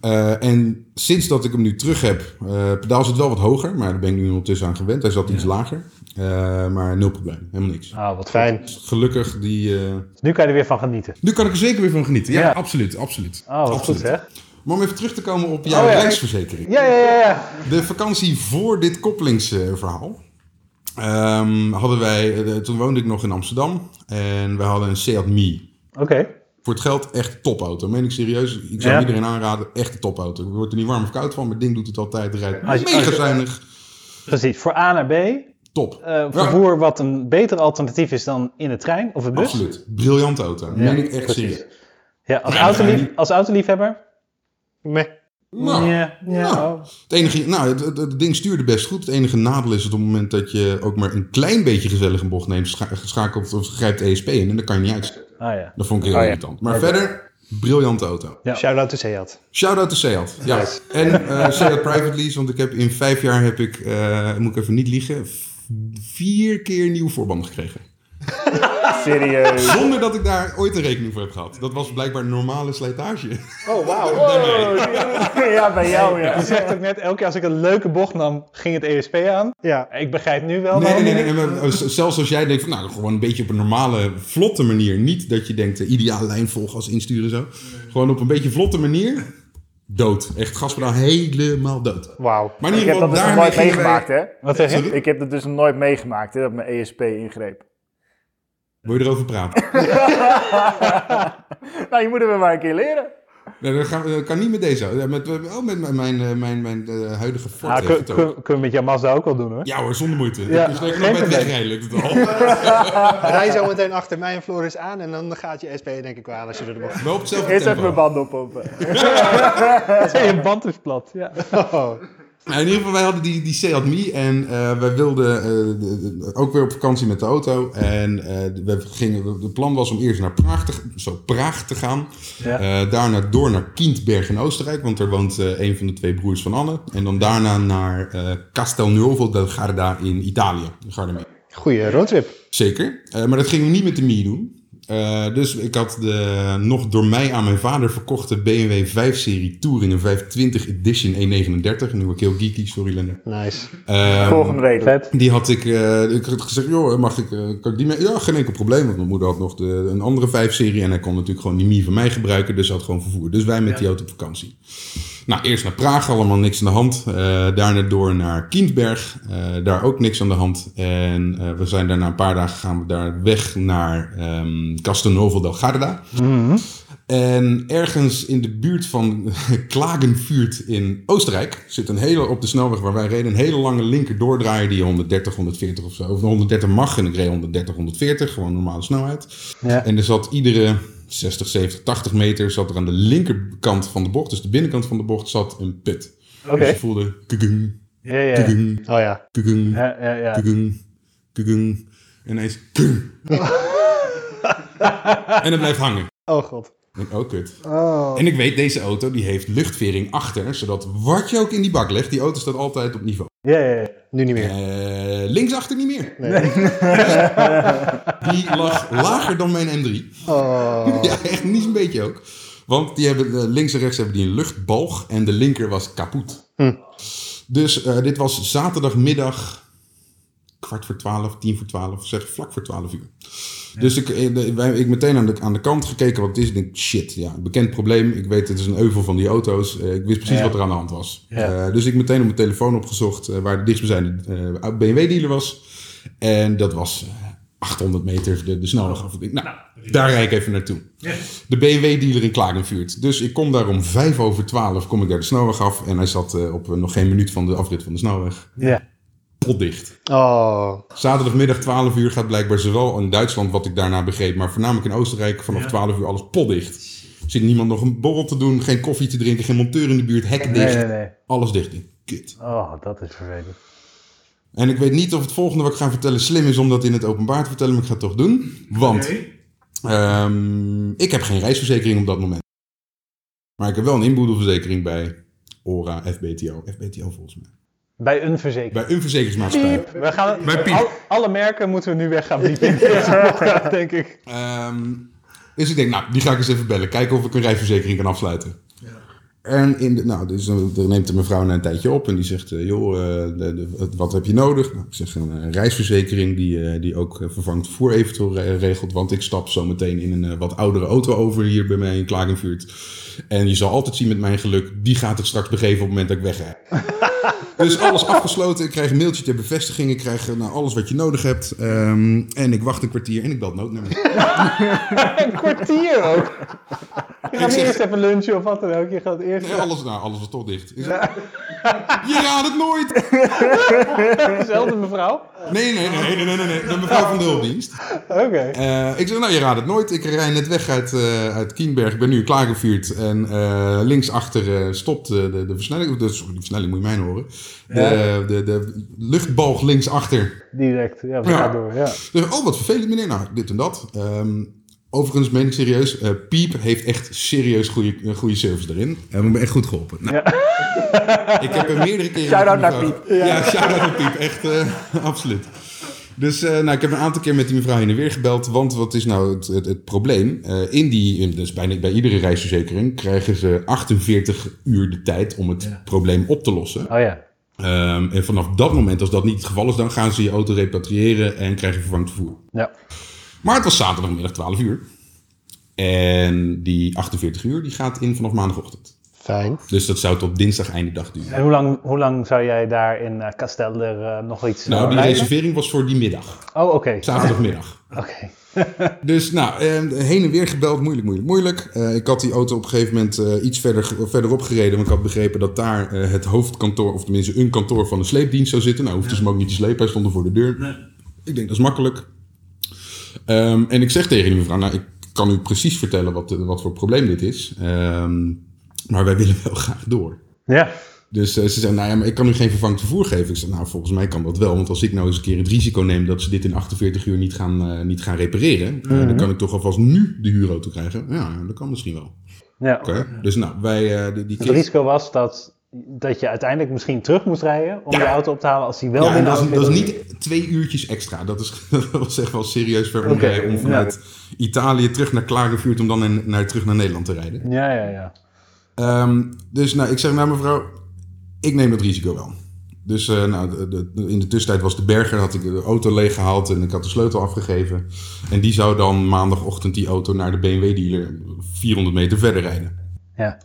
Speaker 4: Eh, en sinds dat ik hem nu terug heb, eh pedaal zit wel wat hoger, maar daar ben ik nu ondertussen aan gewend. Hij zat iets lager, Eh, maar nul probleem, helemaal niks.
Speaker 3: Ah, wat fijn.
Speaker 5: Fijn.
Speaker 4: Gelukkig, die, eh,
Speaker 3: Nu kan je er weer van genieten.
Speaker 4: nu kan ik er zeker weer van genieten. Ja,
Speaker 3: Ja.
Speaker 4: absoluut, absoluut.
Speaker 3: Oh, wat
Speaker 4: absoluut.
Speaker 3: goed zeg.
Speaker 4: Maar om even terug te komen op jouw
Speaker 3: Oh, ja.
Speaker 4: reisverzekering.
Speaker 3: Ja, ja, ja. ja.
Speaker 4: De vakantie voor dit koppelingsverhaal ehm, hadden wij, eh, toen woonde ik nog in Amsterdam en we hadden een Seat Mii.
Speaker 3: Oké.
Speaker 4: Voor het geld echt een topauto. Meen ik serieus. Ik zou
Speaker 3: Ja.
Speaker 4: iedereen aanraden, echt een topauto. Je wordt er niet warm of koud van, maar het ding doet het altijd. Rijdt
Speaker 3: Als je- als
Speaker 4: mega
Speaker 3: je-
Speaker 4: zuinig.
Speaker 3: Precies. Voor A naar B.
Speaker 4: Top.
Speaker 3: eh, vervoer wat een beter alternatief is dan in de trein of de bus.
Speaker 4: Absoluut. Briljante auto. Meen ik echt
Speaker 3: dus? precies.
Speaker 4: serieus.
Speaker 3: Ja, als,
Speaker 4: Ja,
Speaker 3: autolief,
Speaker 4: die-
Speaker 3: als autoliefhebber.
Speaker 5: Meh.
Speaker 4: Nou,
Speaker 3: ja, ja.
Speaker 4: ja.
Speaker 3: oh.
Speaker 4: het, enige, nou het, het- het ding stuurde best goed. Het enige nadeel is dat op het moment dat je ook maar een klein beetje gezellig een bocht neemt, scha- schakelt of grijpt ESP in en dan kan je niet uitstappen.
Speaker 3: Ah ja.
Speaker 4: Dat vond ik heel
Speaker 2: Oh ja.
Speaker 4: irritant. Maar verder, briljante auto.
Speaker 3: Ja.
Speaker 5: Shout-out to Seat.
Speaker 4: Shout-out to Seat. Ja. En eh, Seat Private Lease, want ik heb in vijf jaar heb ik, eh, moet ik even niet liegen, v- vier keer nieuwe voorbanden gekregen.
Speaker 2: Serieus.
Speaker 4: Zonder dat ik daar ooit een rekening voor heb gehad. Dat was blijkbaar normale slijtage.
Speaker 5: Oh, wauw.
Speaker 2: Ja, bij jou ja.
Speaker 3: Je zegt ook net, elke keer als ik een leuke bocht nam, ging het ESP aan.
Speaker 5: Ja.
Speaker 3: Ik begrijp nu wel
Speaker 4: Nee, nee,
Speaker 3: waarom
Speaker 4: nee.
Speaker 3: je-
Speaker 4: nee, maar, eh, z- zelfs als jij denkt, van, nou, gewoon een beetje op een normale, vlotte manier. Niet dat je denkt, de ideale lijn volgen als insturen en zo. Gewoon op een beetje vlotte manier. Dood. Echt gaspedaal helemaal dood.
Speaker 5: Wauw.
Speaker 4: Maar in
Speaker 2: Ik
Speaker 4: ieder
Speaker 2: heb
Speaker 4: geval,
Speaker 2: dat dus nog
Speaker 4: daar
Speaker 2: nooit meegemaakt, hè?
Speaker 3: Wat zeg je?
Speaker 2: Ik heb dat dus nog nooit meegemaakt, hè, dat mijn ESP ingreep.
Speaker 4: Wil je erover praten?
Speaker 2: Nou, je moet er maar een keer leren.
Speaker 4: Nee, dat, gaan we- dat kan niet met deze. Ja, Met, oh, met mijn, mijn, eh, mijn, mijn eh, huidige Ford.
Speaker 3: Ah,
Speaker 4: heeft
Speaker 3: kun-
Speaker 4: het ook.
Speaker 3: kun- kunnen we met jouw Mazda ook al doen hoor.
Speaker 4: Ja hoor, zonder moeite.
Speaker 3: Ja,
Speaker 4: dus
Speaker 3: geen
Speaker 4: lekker nog bij het
Speaker 3: probleem.
Speaker 4: wegrijden lukt het al.
Speaker 5: Rij zo meteen achter mij en Floris aan en dan gaat je SP denk ik wel aan als je er mag.
Speaker 4: Wel op hetzelfde
Speaker 2: Eerst even
Speaker 4: tempo.
Speaker 2: mijn banden oppompen.
Speaker 3: je band is plat. Ja.
Speaker 5: Oh.
Speaker 4: Nou, in ieder geval, wij hadden die, die Seat Mii en eh, wij wilden eh, de- de- ook weer op vakantie met de auto. En eh we gingen, de plan was om eerst naar Praag te, zo, Praag te gaan.
Speaker 3: Ja.
Speaker 4: Eh, daarna door naar Kindberg in Oostenrijk, want daar woont eh, een van de twee broers van Anne. En dan daarna naar eh Castelnuovo del Garda in Italië. Garda
Speaker 5: Goeie roadtrip.
Speaker 4: Zeker. Eh, maar dat gingen we niet met de Mii doen. Eh, dus ik had de nog door mij aan mijn vader verkochte BMW 5-serie Touring een 520 Edition E 139. Nu word ik heel geeky, sorry Lennart.
Speaker 5: Nice.
Speaker 4: Ehm,
Speaker 2: Volgende reden.
Speaker 3: Vet.
Speaker 4: die had ik, eh, ik had gezegd, joh, mag ik, eh, kan ik die mee? Ja, geen enkel probleem, want mijn moeder had nog de, een andere 5-serie en hij kon natuurlijk gewoon die Mii van mij gebruiken, dus hij had gewoon vervoer. Dus wij met die auto op vakantie. Nou, eerst naar Praag, allemaal niks aan de hand. Eh, daarna door naar Kindberg, eh, daar ook niks aan de hand. En eh, we zijn daarna een paar dagen gaan we daar weg naar ehm Castelnuovo del Garda. En ergens in de buurt van Klagenvuurt in Oostenrijk zit een hele, op de snelweg waar wij reden, een hele lange linker doordraaier die 130, 140 of zo, of 130 mag. En ik reed 130, 140, gewoon normale snelheid.
Speaker 3: Ja.
Speaker 4: En er zat iedere 60, 70, 80 meter zat er aan de linkerkant van de bocht, dus de binnenkant van de bocht, zat een put.
Speaker 3: Oké.
Speaker 4: Dus je voelde kugung,
Speaker 3: Ja, ja.
Speaker 4: kugung,
Speaker 5: Oh ja.
Speaker 4: kugung,
Speaker 3: Ja, ja, ja.
Speaker 4: kugung, kugung. En ineens kugung. en het blijft hangen.
Speaker 5: Oh god.
Speaker 4: Ik denk, oh kut. En ik weet, deze auto die heeft luchtvering achter, zodat wat je ook in die bak legt, die auto staat altijd op niveau.
Speaker 3: Ja, ja, ja.
Speaker 5: Nu niet meer.
Speaker 4: Eh linksachter niet meer.
Speaker 5: Nee.
Speaker 4: Die lag lager dan mijn M3.
Speaker 5: Oh.
Speaker 4: Ja, echt niet een beetje ook. Want die hebben, eh, links en rechts hebben die een luchtbalg en de linker was kapot.
Speaker 5: Hm.
Speaker 4: Dus eh, dit was zaterdagmiddag kwart voor twaalf, tien voor twaalf, zeg vlak voor twaalf uur. Dus ik, eh, de- wij, ik meteen aan de, aan de kant gekeken wat het is. Ik denk, shit, ja, een bekend probleem. Ik weet, het is een euvel van die auto's. Eh, ik wist precies wat er aan de hand was.
Speaker 3: Ja.
Speaker 4: Eh, dus ik meteen op mijn telefoon opgezocht eh, waar de dichtstbijzijnde eh, BMW-dealer was. En dat was eh, 800 meter de, de snelweg af. Ik denk, nou, daar rijd ik even naartoe. De BMW-dealer in Klagenvuurt. Dus ik kom daar om vijf over twaalf, kom ik daar de snelweg af. En hij zat eh, op eh, nog geen minuut van de afrit van de snelweg.
Speaker 3: Ja.
Speaker 4: Potdicht.
Speaker 5: Oh.
Speaker 4: Zaterdagmiddag 12 uur gaat blijkbaar zowel in Duitsland, wat ik daarna begreep, maar voornamelijk in Oostenrijk vanaf 12 uur alles potdicht. Er Zit niemand nog een borrel te doen, geen koffie te drinken, geen monteur in de buurt, hek dicht.
Speaker 3: Nee, nee, nee.
Speaker 4: Alles dicht. Ik, Kut.
Speaker 3: Oh, dat is vervelend.
Speaker 4: En ik weet niet of het volgende wat ik ga vertellen slim is om dat in het openbaar te vertellen, maar ik ga het toch doen. Want ehm, ik heb geen reisverzekering op dat moment. Maar ik heb wel een inboedelverzekering bij ORA, FBTO. FBTO volgens mij.
Speaker 3: Bij een verzekering.
Speaker 4: Bij een verzekeringsmaatschappij.
Speaker 3: We gaan,
Speaker 4: Bij Piep.
Speaker 3: al- alle merken moeten we nu weg gaan bliepen in deze podcast, denk ik.
Speaker 4: Ehm, dus ik denk, nou, die ga ik eens even bellen. Kijken of ik een rijverzekering kan afsluiten. En in de, nou, dus dan dan neemt de mevrouw na een tijdje op en die zegt, eh, joh, eh, de- de- wat- wat heb je nodig? Nou, ik zeg, een, eh, reisverzekering die, eh, die ook eh, vervangt voor eventueel re- regelt. Want ik stap zo meteen in een eh, wat oudere auto over hier bij mij in Klagenvuurt. En je zal altijd zien met mijn geluk, die gaat het straks begeven op het moment dat ik wegrij. Dus alles afgesloten. Ik krijg een mailtje ter bevestiging. Ik krijg eh, nou, alles wat je nodig hebt. Ehm, en ik wacht een kwartier en ik bel het noodnummer.
Speaker 3: Een kwartier ook. Je gaat
Speaker 4: zeg-
Speaker 3: eerst even lunchen of wat dan ook. Je gaat eerst...
Speaker 4: Nee, alles, nou, alles was toch dicht. Is- Je raadt het nooit!
Speaker 3: Dezelfde mevrouw?
Speaker 4: Nee, nee, nee, nee, nee, nee, nee. De mevrouw van de hulpdienst.
Speaker 3: Oké.
Speaker 4: Eh, ik zeg, nou, je raadt het nooit. Ik rij net weg uit, eh, uit Kienberg. Ik ben nu in Klagenvuurt. En eh linksachter eh, stopt eh, de, de versnelling. Of De, sorry, de versnelling moet je mij horen. De, de, de luchtbalg linksachter.
Speaker 3: Direct. Ja, we
Speaker 4: Ja.
Speaker 3: gaan door. Ja.
Speaker 4: Dus, oh, wat vervelend meneer. Nou, dit en dat. Ehm, overigens, meen ik serieus. eh, Piep heeft echt serieus goede, eh, goede service erin. Hij heeft me echt goed geholpen. Nou, ik heb er meerdere keren...
Speaker 2: Shout-out
Speaker 4: met die
Speaker 2: naar
Speaker 4: mevrouw- Ja, shout-out naar Piep. Echt, eh, absoluut. Dus eh, nou, ik heb een aantal keer met die mevrouw heen en weer gebeld. Want wat is nou het, het, het probleem? Eh, in die, in- dus bijna bij iedere reisverzekering krijgen ze 48 uur de tijd om het probleem op te lossen.
Speaker 3: Oh ja.
Speaker 4: Ehm, en vanaf dat moment, als dat niet het geval is, dan gaan ze je auto repatriëren en krijg je vervangend vervoer.
Speaker 3: Ja.
Speaker 4: Maar het was zaterdagmiddag 12 uur. En die 48 uur die gaat in vanaf maandagochtend.
Speaker 5: Fijn.
Speaker 4: Dus dat zou tot dinsdag einde dag duren.
Speaker 3: En hoe lang, hoe lang zou jij daar in eh Casteller eh, nog iets
Speaker 4: Nou,
Speaker 3: eh,
Speaker 4: die
Speaker 3: rijden?
Speaker 4: reservering was voor die middag.
Speaker 3: Oh, oké. Oké.
Speaker 4: Zaterdagmiddag. Dus nou, eh, heen en weer gebeld, moeilijk, moeilijk, moeilijk. Eh, ik had die auto op een gegeven moment eh, iets verder, verderop gereden. Want ik had begrepen dat daar eh, het hoofdkantoor, of tenminste een kantoor van de sleepdienst zou zitten. Nou, hoefden ze hem ook niet te slepen, hij stond er voor de deur. Ik denk, dat is makkelijk. Ehm, en ik zeg tegen die mevrouw, nou, ik kan u precies vertellen wat, eh, wat voor probleem dit is. Ehm, maar wij willen wel graag door.
Speaker 3: Ja.
Speaker 4: Dus eh, ze zei, nou ja, maar ik kan u geen vervangend vervoer geven. Ik zei, nou, volgens mij kan dat wel. Want als ik nou eens een keer het risico neem dat ze dit in 48 uur niet gaan, eh, niet gaan repareren... eh,
Speaker 3: Mhm.
Speaker 4: dan kan ik toch alvast nu de huurauto krijgen. Ja, dat kan misschien wel.
Speaker 3: ja.
Speaker 4: Oké. Dus nou, wij... eh, die, die
Speaker 3: Het risico was dat, dat je uiteindelijk misschien terug moest rijden om je auto op te halen als die wel
Speaker 4: Ja, en
Speaker 3: binnen
Speaker 4: dat is, dat is
Speaker 3: 48 uur-
Speaker 4: niet twee uurtjes extra. Dat, is, dat was echt wel serieus ver
Speaker 3: Oké,
Speaker 4: omrijden om vanuit Italië terug naar Klagenvuurt... om dan in- naar, terug naar Nederland te rijden.
Speaker 3: Ja, ja, ja.
Speaker 4: Ehm, dus nou, ik zeg, nou mevrouw, ik neem dat risico wel. Dus eh, nou, de- de- de- in de tussentijd was de berger, had ik de auto leeggehaald en ik had de sleutel afgegeven. En die zou dan maandagochtend die auto naar de BMW-dealer 400 meter verder rijden.
Speaker 3: Ja.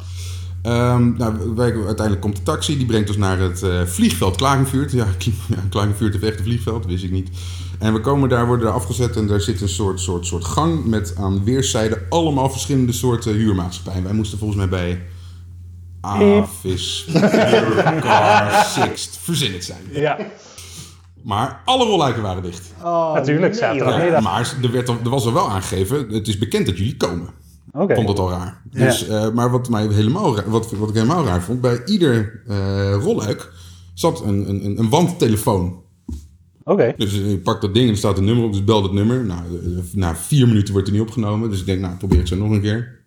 Speaker 4: Ehm, nou, wij- uiteindelijk komt de taxi, die brengt ons naar het eh, vliegveld Klagenvuurt. Ja, Kli- ja, Klagenvuurt heeft echt een vliegveld, wist ik niet. En we komen daar, worden daar afgezet en daar zit een soort, soort, soort gang met aan weerszijden allemaal verschillende soorten huurmaatschappijen. Wij moesten volgens mij bij Avis, Car, Sixt, verzin het zijn.
Speaker 3: Ja,
Speaker 4: Maar alle rolluiken waren dicht.
Speaker 5: Oh,
Speaker 3: natuurlijk,
Speaker 5: nee, joh.
Speaker 3: zaterdag. Goedemiddag.
Speaker 4: Maar er, werd, al- er was al wel aangegeven, het is bekend dat jullie komen.
Speaker 3: oké.
Speaker 4: Ik vond dat al raar. Dus, eh, maar wat, mij helemaal, ra- wat, wat ik helemaal raar vond, bij ieder eh, rolluik zat een, een, een- een wandtelefoon.
Speaker 3: Oké,
Speaker 4: Dus je pakt dat ding en er staat een nummer op, dus bel dat nummer. Nou, eh, na vier minuten wordt er niet opgenomen, dus ik denk, nou, probeer het zo nog een keer.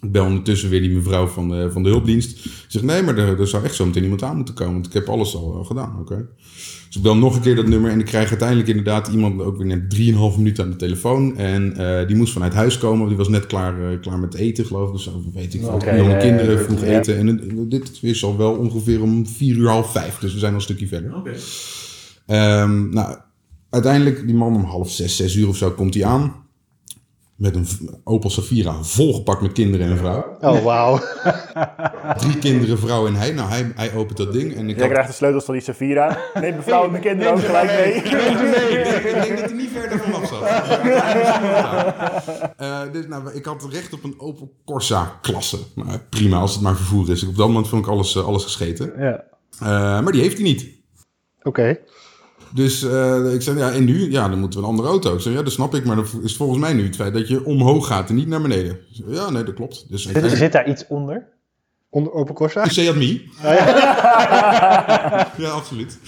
Speaker 4: Ik bel ondertussen weer die mevrouw van de, van de hulpdienst. Ze zegt, nee, maar er, er zou echt zo meteen iemand aan moeten komen, want ik heb alles al, al gedaan, oké. Dus ik bel nog een keer dat nummer en ik krijg uiteindelijk inderdaad iemand ook weer net 3,5 minuten aan de telefoon. En eh, die moest vanuit huis komen, want die was net klaar, eh, klaar met eten, geloof ik. Dus of weet ik veel.
Speaker 3: Oké,
Speaker 4: jonge
Speaker 3: eh,
Speaker 4: kinderen
Speaker 3: eh,
Speaker 4: vroeg
Speaker 3: ja.
Speaker 4: eten. En eh, dit is al wel ongeveer om 4 uur half 5, dus we zijn al een stukje verder. Ehm, nou, uiteindelijk, die man om half zes, zes uur of zo komt hij aan. Met een v- Opel Safira volgepakt met kinderen en een vrouw.
Speaker 5: Oh, wauw.
Speaker 4: Drie kinderen, vrouw en hij. Nou, hij, hij opent dat ding. En ik,
Speaker 2: Jij
Speaker 4: had-
Speaker 2: krijgt de sleutels van die Savira. Neem mevrouw en de kinderen ook gelijk mee.
Speaker 4: ik, denk, ik denk dat hij niet verder vanaf zat. Eh, dus, nou, ik had recht op een Opel Corsa klasse. Nou, prima, als het maar vervoer is. Op dat moment vond ik alles, eh, alles gescheten.
Speaker 3: ja.
Speaker 4: Eh, maar die heeft hij niet.
Speaker 5: Oké.
Speaker 4: Dus eh, ik zei, ja, en nu? Ja, dan moeten we een andere auto. Ik zei, ja, dat snap ik, maar dat is volgens mij nu het feit dat je omhoog gaat en niet naar beneden. Ik zei, ja, nee, dat klopt. Dus
Speaker 3: Zit,
Speaker 4: uiteindelijk-
Speaker 3: zit daar iets onder?
Speaker 5: Onder Open Corsa?
Speaker 4: You say at me.
Speaker 2: Oh,
Speaker 4: ja, absoluut.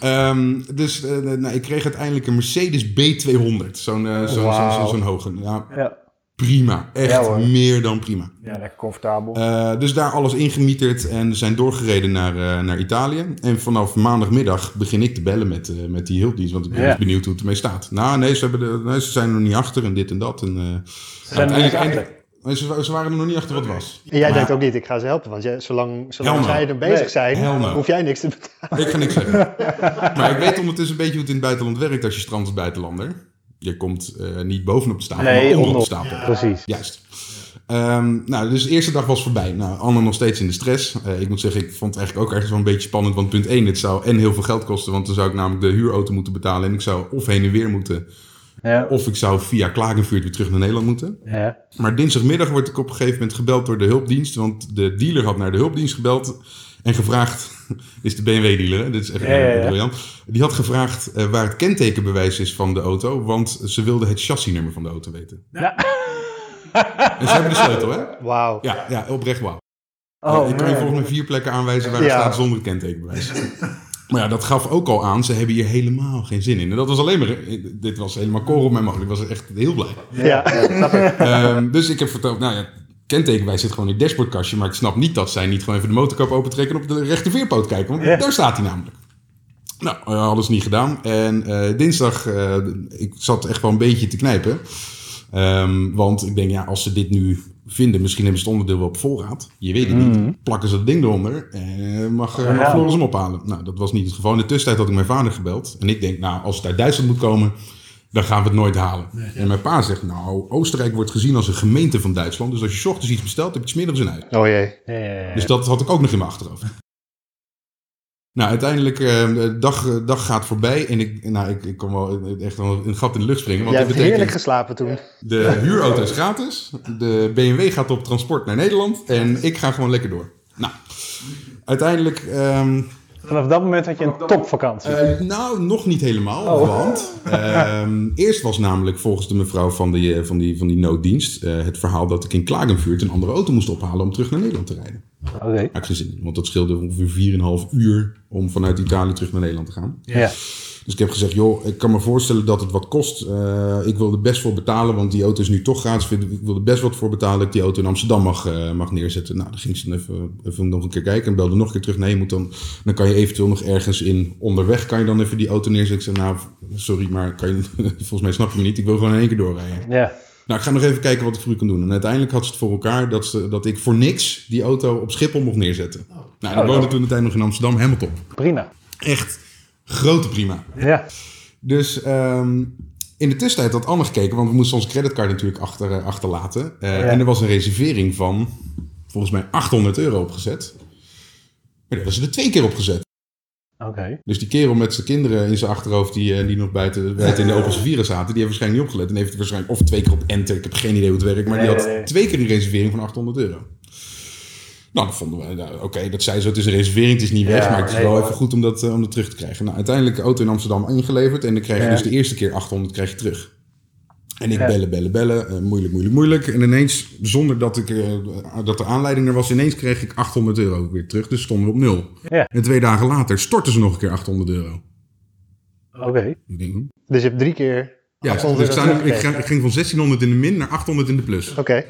Speaker 4: Ehm, dus eh, nou, ik kreeg uiteindelijk een Mercedes B200. Zo'n eh, zo'n zo'n- zo'n- zo'n hoge. Nou,
Speaker 3: Ja.
Speaker 4: prima. Echt
Speaker 2: Ja, hoor.
Speaker 4: meer dan prima.
Speaker 2: Ja, lekker comfortabel.
Speaker 4: Eh, dus daar alles ingemieterd en zijn doorgereden naar, eh, naar Italië. En vanaf maandagmiddag begin ik te bellen met, eh, met die hulpdienst. Want ik ben
Speaker 3: Ja.
Speaker 4: eens benieuwd hoe het ermee staat. Nou, nee, ze, hebben de, nee, ze zijn er nog niet achter en dit en dat. En, eh,
Speaker 3: zijn er nog niet
Speaker 4: uiteindelijk- Nee, ze, ze waren er nog niet achter wat het was.
Speaker 5: En jij
Speaker 4: Maar-
Speaker 5: denkt ook niet, ik ga ze helpen. Want jij, zolang, zolang
Speaker 4: Hell no.
Speaker 5: zij er bezig
Speaker 3: Nee.
Speaker 5: zijn,
Speaker 4: Hell no.
Speaker 5: hoef jij niks te betalen.
Speaker 4: Ik ga niks zeggen. Maar ik weet ondertussen een beetje hoe het in het buitenland werkt als je strandt als buitenlander. Je komt eh, niet bovenop de stapel,
Speaker 3: Nee,
Speaker 4: maar onder op de
Speaker 3: onder.
Speaker 4: stapel.
Speaker 3: Precies.
Speaker 4: Juist. Ehm, nou, dus de eerste dag was voorbij. Nou, Anne nog steeds in de stress. Eh, ik moet zeggen, ik vond het eigenlijk ook ergens wel een beetje spannend. Want punt 1, het zou en heel veel geld kosten. Want dan zou ik namelijk de huurauto moeten betalen. En ik zou of heen en weer moeten.
Speaker 3: Ja.
Speaker 4: Of ik zou via Klagenvuurt weer terug naar Nederland moeten.
Speaker 3: Ja.
Speaker 4: Maar dinsdagmiddag word ik op een gegeven moment gebeld door de hulpdienst. Want de dealer had naar de hulpdienst gebeld en gevraagd... Dit is de BMW-dealer, hè? Dit is echt
Speaker 3: Ja, ja, ja.
Speaker 4: briljant. Die had gevraagd eh, waar het kentekenbewijs is van de auto. Want ze wilde het chassisnummer van de auto weten.
Speaker 3: Ja.
Speaker 4: En ze hebben de sleutel, hè?
Speaker 5: Wauw.
Speaker 4: Ja, ja oprecht wauw.
Speaker 3: Oh,
Speaker 4: ik kan je
Speaker 3: man.
Speaker 4: volgens mij vier plekken aanwijzen waar het
Speaker 5: Ja.
Speaker 4: staat zonder kentekenbewijs. Maar ja, dat gaf ook al aan, ze hebben hier helemaal geen zin in. En dat was alleen maar, dit was helemaal korrel op mijn molen. Ik was echt heel blij.
Speaker 5: Ja.
Speaker 4: Ehm, dus ik heb verteld, nou ja, kentekenwijs zit gewoon in het dashboardkastje. Maar ik snap niet dat zij niet gewoon even de motorkap opentrekken en op de rechte veerpoot kijken. Want
Speaker 3: Ja.
Speaker 4: daar staat hij namelijk. Nou, eh, hadden ze niet gedaan. En eh, dinsdag, eh, ik zat echt wel een beetje te knijpen. Ehm, want ik denk, ja, als ze dit nu vinden, misschien hebben ze het onderdeel wel op voorraad. Je weet het niet. Plakken ze dat ding eronder en mag, eh, mag
Speaker 3: Mm. Ja.
Speaker 4: Floris hem ophalen. Nou, dat was niet het geval. In de tussentijd had ik mijn vader gebeld. En ik denk, nou, als het uit Duitsland moet komen, dan gaan we het nooit halen. En mijn pa zegt, nou, Oostenrijk wordt gezien als een gemeente van Duitsland. Dus als je 's ochtends iets bestelt, heb je 's middags in huis.
Speaker 5: Oh jee.
Speaker 3: Ja, ja, ja.
Speaker 4: Dus dat had ik ook nog in mijn achterhoofd. Nou, uiteindelijk, eh, de dag, eh, dag gaat voorbij en ik, nou, ik, ik kon wel echt wel een gat in de lucht springen. Want
Speaker 5: Jij
Speaker 4: dat
Speaker 5: hebt
Speaker 4: betekent,
Speaker 5: heerlijk geslapen toen.
Speaker 4: de huurauto is gratis, de BMW gaat op transport naar Nederland en ik ga gewoon lekker door. Nou, uiteindelijk, ehm,
Speaker 3: Vanaf dat moment had je een topvakantie.
Speaker 4: eh, nou, nog niet helemaal, want ehm, eerst was namelijk volgens de mevrouw van die, eh, van die, van die nooddienst eh, het verhaal dat ik in Klagenvuurt een andere auto moest ophalen om terug naar Nederland te rijden.
Speaker 3: Oké.
Speaker 4: Daar had ik geen zin in, want dat scheelde ongeveer 4,5 uur om vanuit Italië terug naar Nederland te gaan.
Speaker 3: Ja.
Speaker 4: Dus ik heb gezegd, joh, ik kan me voorstellen dat het wat kost. Eh, ik wil er best voor betalen, want die auto is nu toch gratis. Ik wil er best wat voor betalen dat ik die auto in Amsterdam mag, eh, mag neerzetten. Nou, dan ging ze dan even, even nog een keer kijken en belde nog een keer terug. Nee, je moet dan, dan kan je eventueel nog ergens in onderweg, kan je dan even die auto neerzetten. Ik zei, nou, sorry, maar kan je, volgens mij snap je me niet. Ik wil gewoon in één keer doorrijden.
Speaker 3: Ja.
Speaker 4: Nou, ik ga nog even kijken wat ik voor u kan doen. En uiteindelijk had ze het voor elkaar dat, ze, dat ik voor niks die auto op Schiphol mocht neerzetten. Nou, ik woonde toen de tijd nog in Amsterdam, helemaal top.
Speaker 3: Prima.
Speaker 4: Echt grote prima.
Speaker 3: Ja.
Speaker 4: Dus ehm, in de tussentijd had Anne gekeken, want we moesten onze creditcard natuurlijk achter, eh, achterlaten. Eh,
Speaker 3: Ja.
Speaker 4: En er was een reservering van volgens mij 800 euro opgezet. Maar daar was ze er twee keer opgezet.
Speaker 3: Oké.
Speaker 4: Dus die kerel met zijn kinderen in zijn achterhoofd, die, eh, die nog buiten, buiten in de Opel Vieren zaten, die heeft waarschijnlijk niet opgelet. En heeft waarschijnlijk of twee keer op enter, ik heb geen idee hoe het werkt, maar die
Speaker 2: Nee,
Speaker 4: had
Speaker 2: nee, nee.
Speaker 4: twee keer een reservering van 800 euro. Nou, dat vonden we, nou, oké, dat zei zo, het is een reservering, het is niet weg,
Speaker 2: Ja,
Speaker 4: maar het is
Speaker 2: nee,
Speaker 4: wel
Speaker 2: maar-
Speaker 4: even goed om dat, eh, om dat terug te krijgen. Nou, uiteindelijk de auto in Amsterdam ingeleverd en dan krijg je
Speaker 2: Ja.
Speaker 4: dus de eerste keer 800 krijg je terug. En ik
Speaker 2: Ja.
Speaker 4: bellen, bellen, bellen. eh, moeilijk, moeilijk, moeilijk. En ineens, zonder dat, ik, eh, dat de aanleiding er was, ineens kreeg ik 800 euro weer terug. Dus stonden we op nul.
Speaker 3: Ja.
Speaker 4: En twee dagen later stortten ze nog een keer 800 euro.
Speaker 3: Oké.
Speaker 4: Ik denk, hm?
Speaker 5: Dus je hebt drie keer.
Speaker 4: ja,
Speaker 5: 800
Speaker 4: dus ik, sta nu-
Speaker 5: euro
Speaker 4: ik, ga- ik ging van 1600 in de min naar 800 in de plus.
Speaker 5: Oké.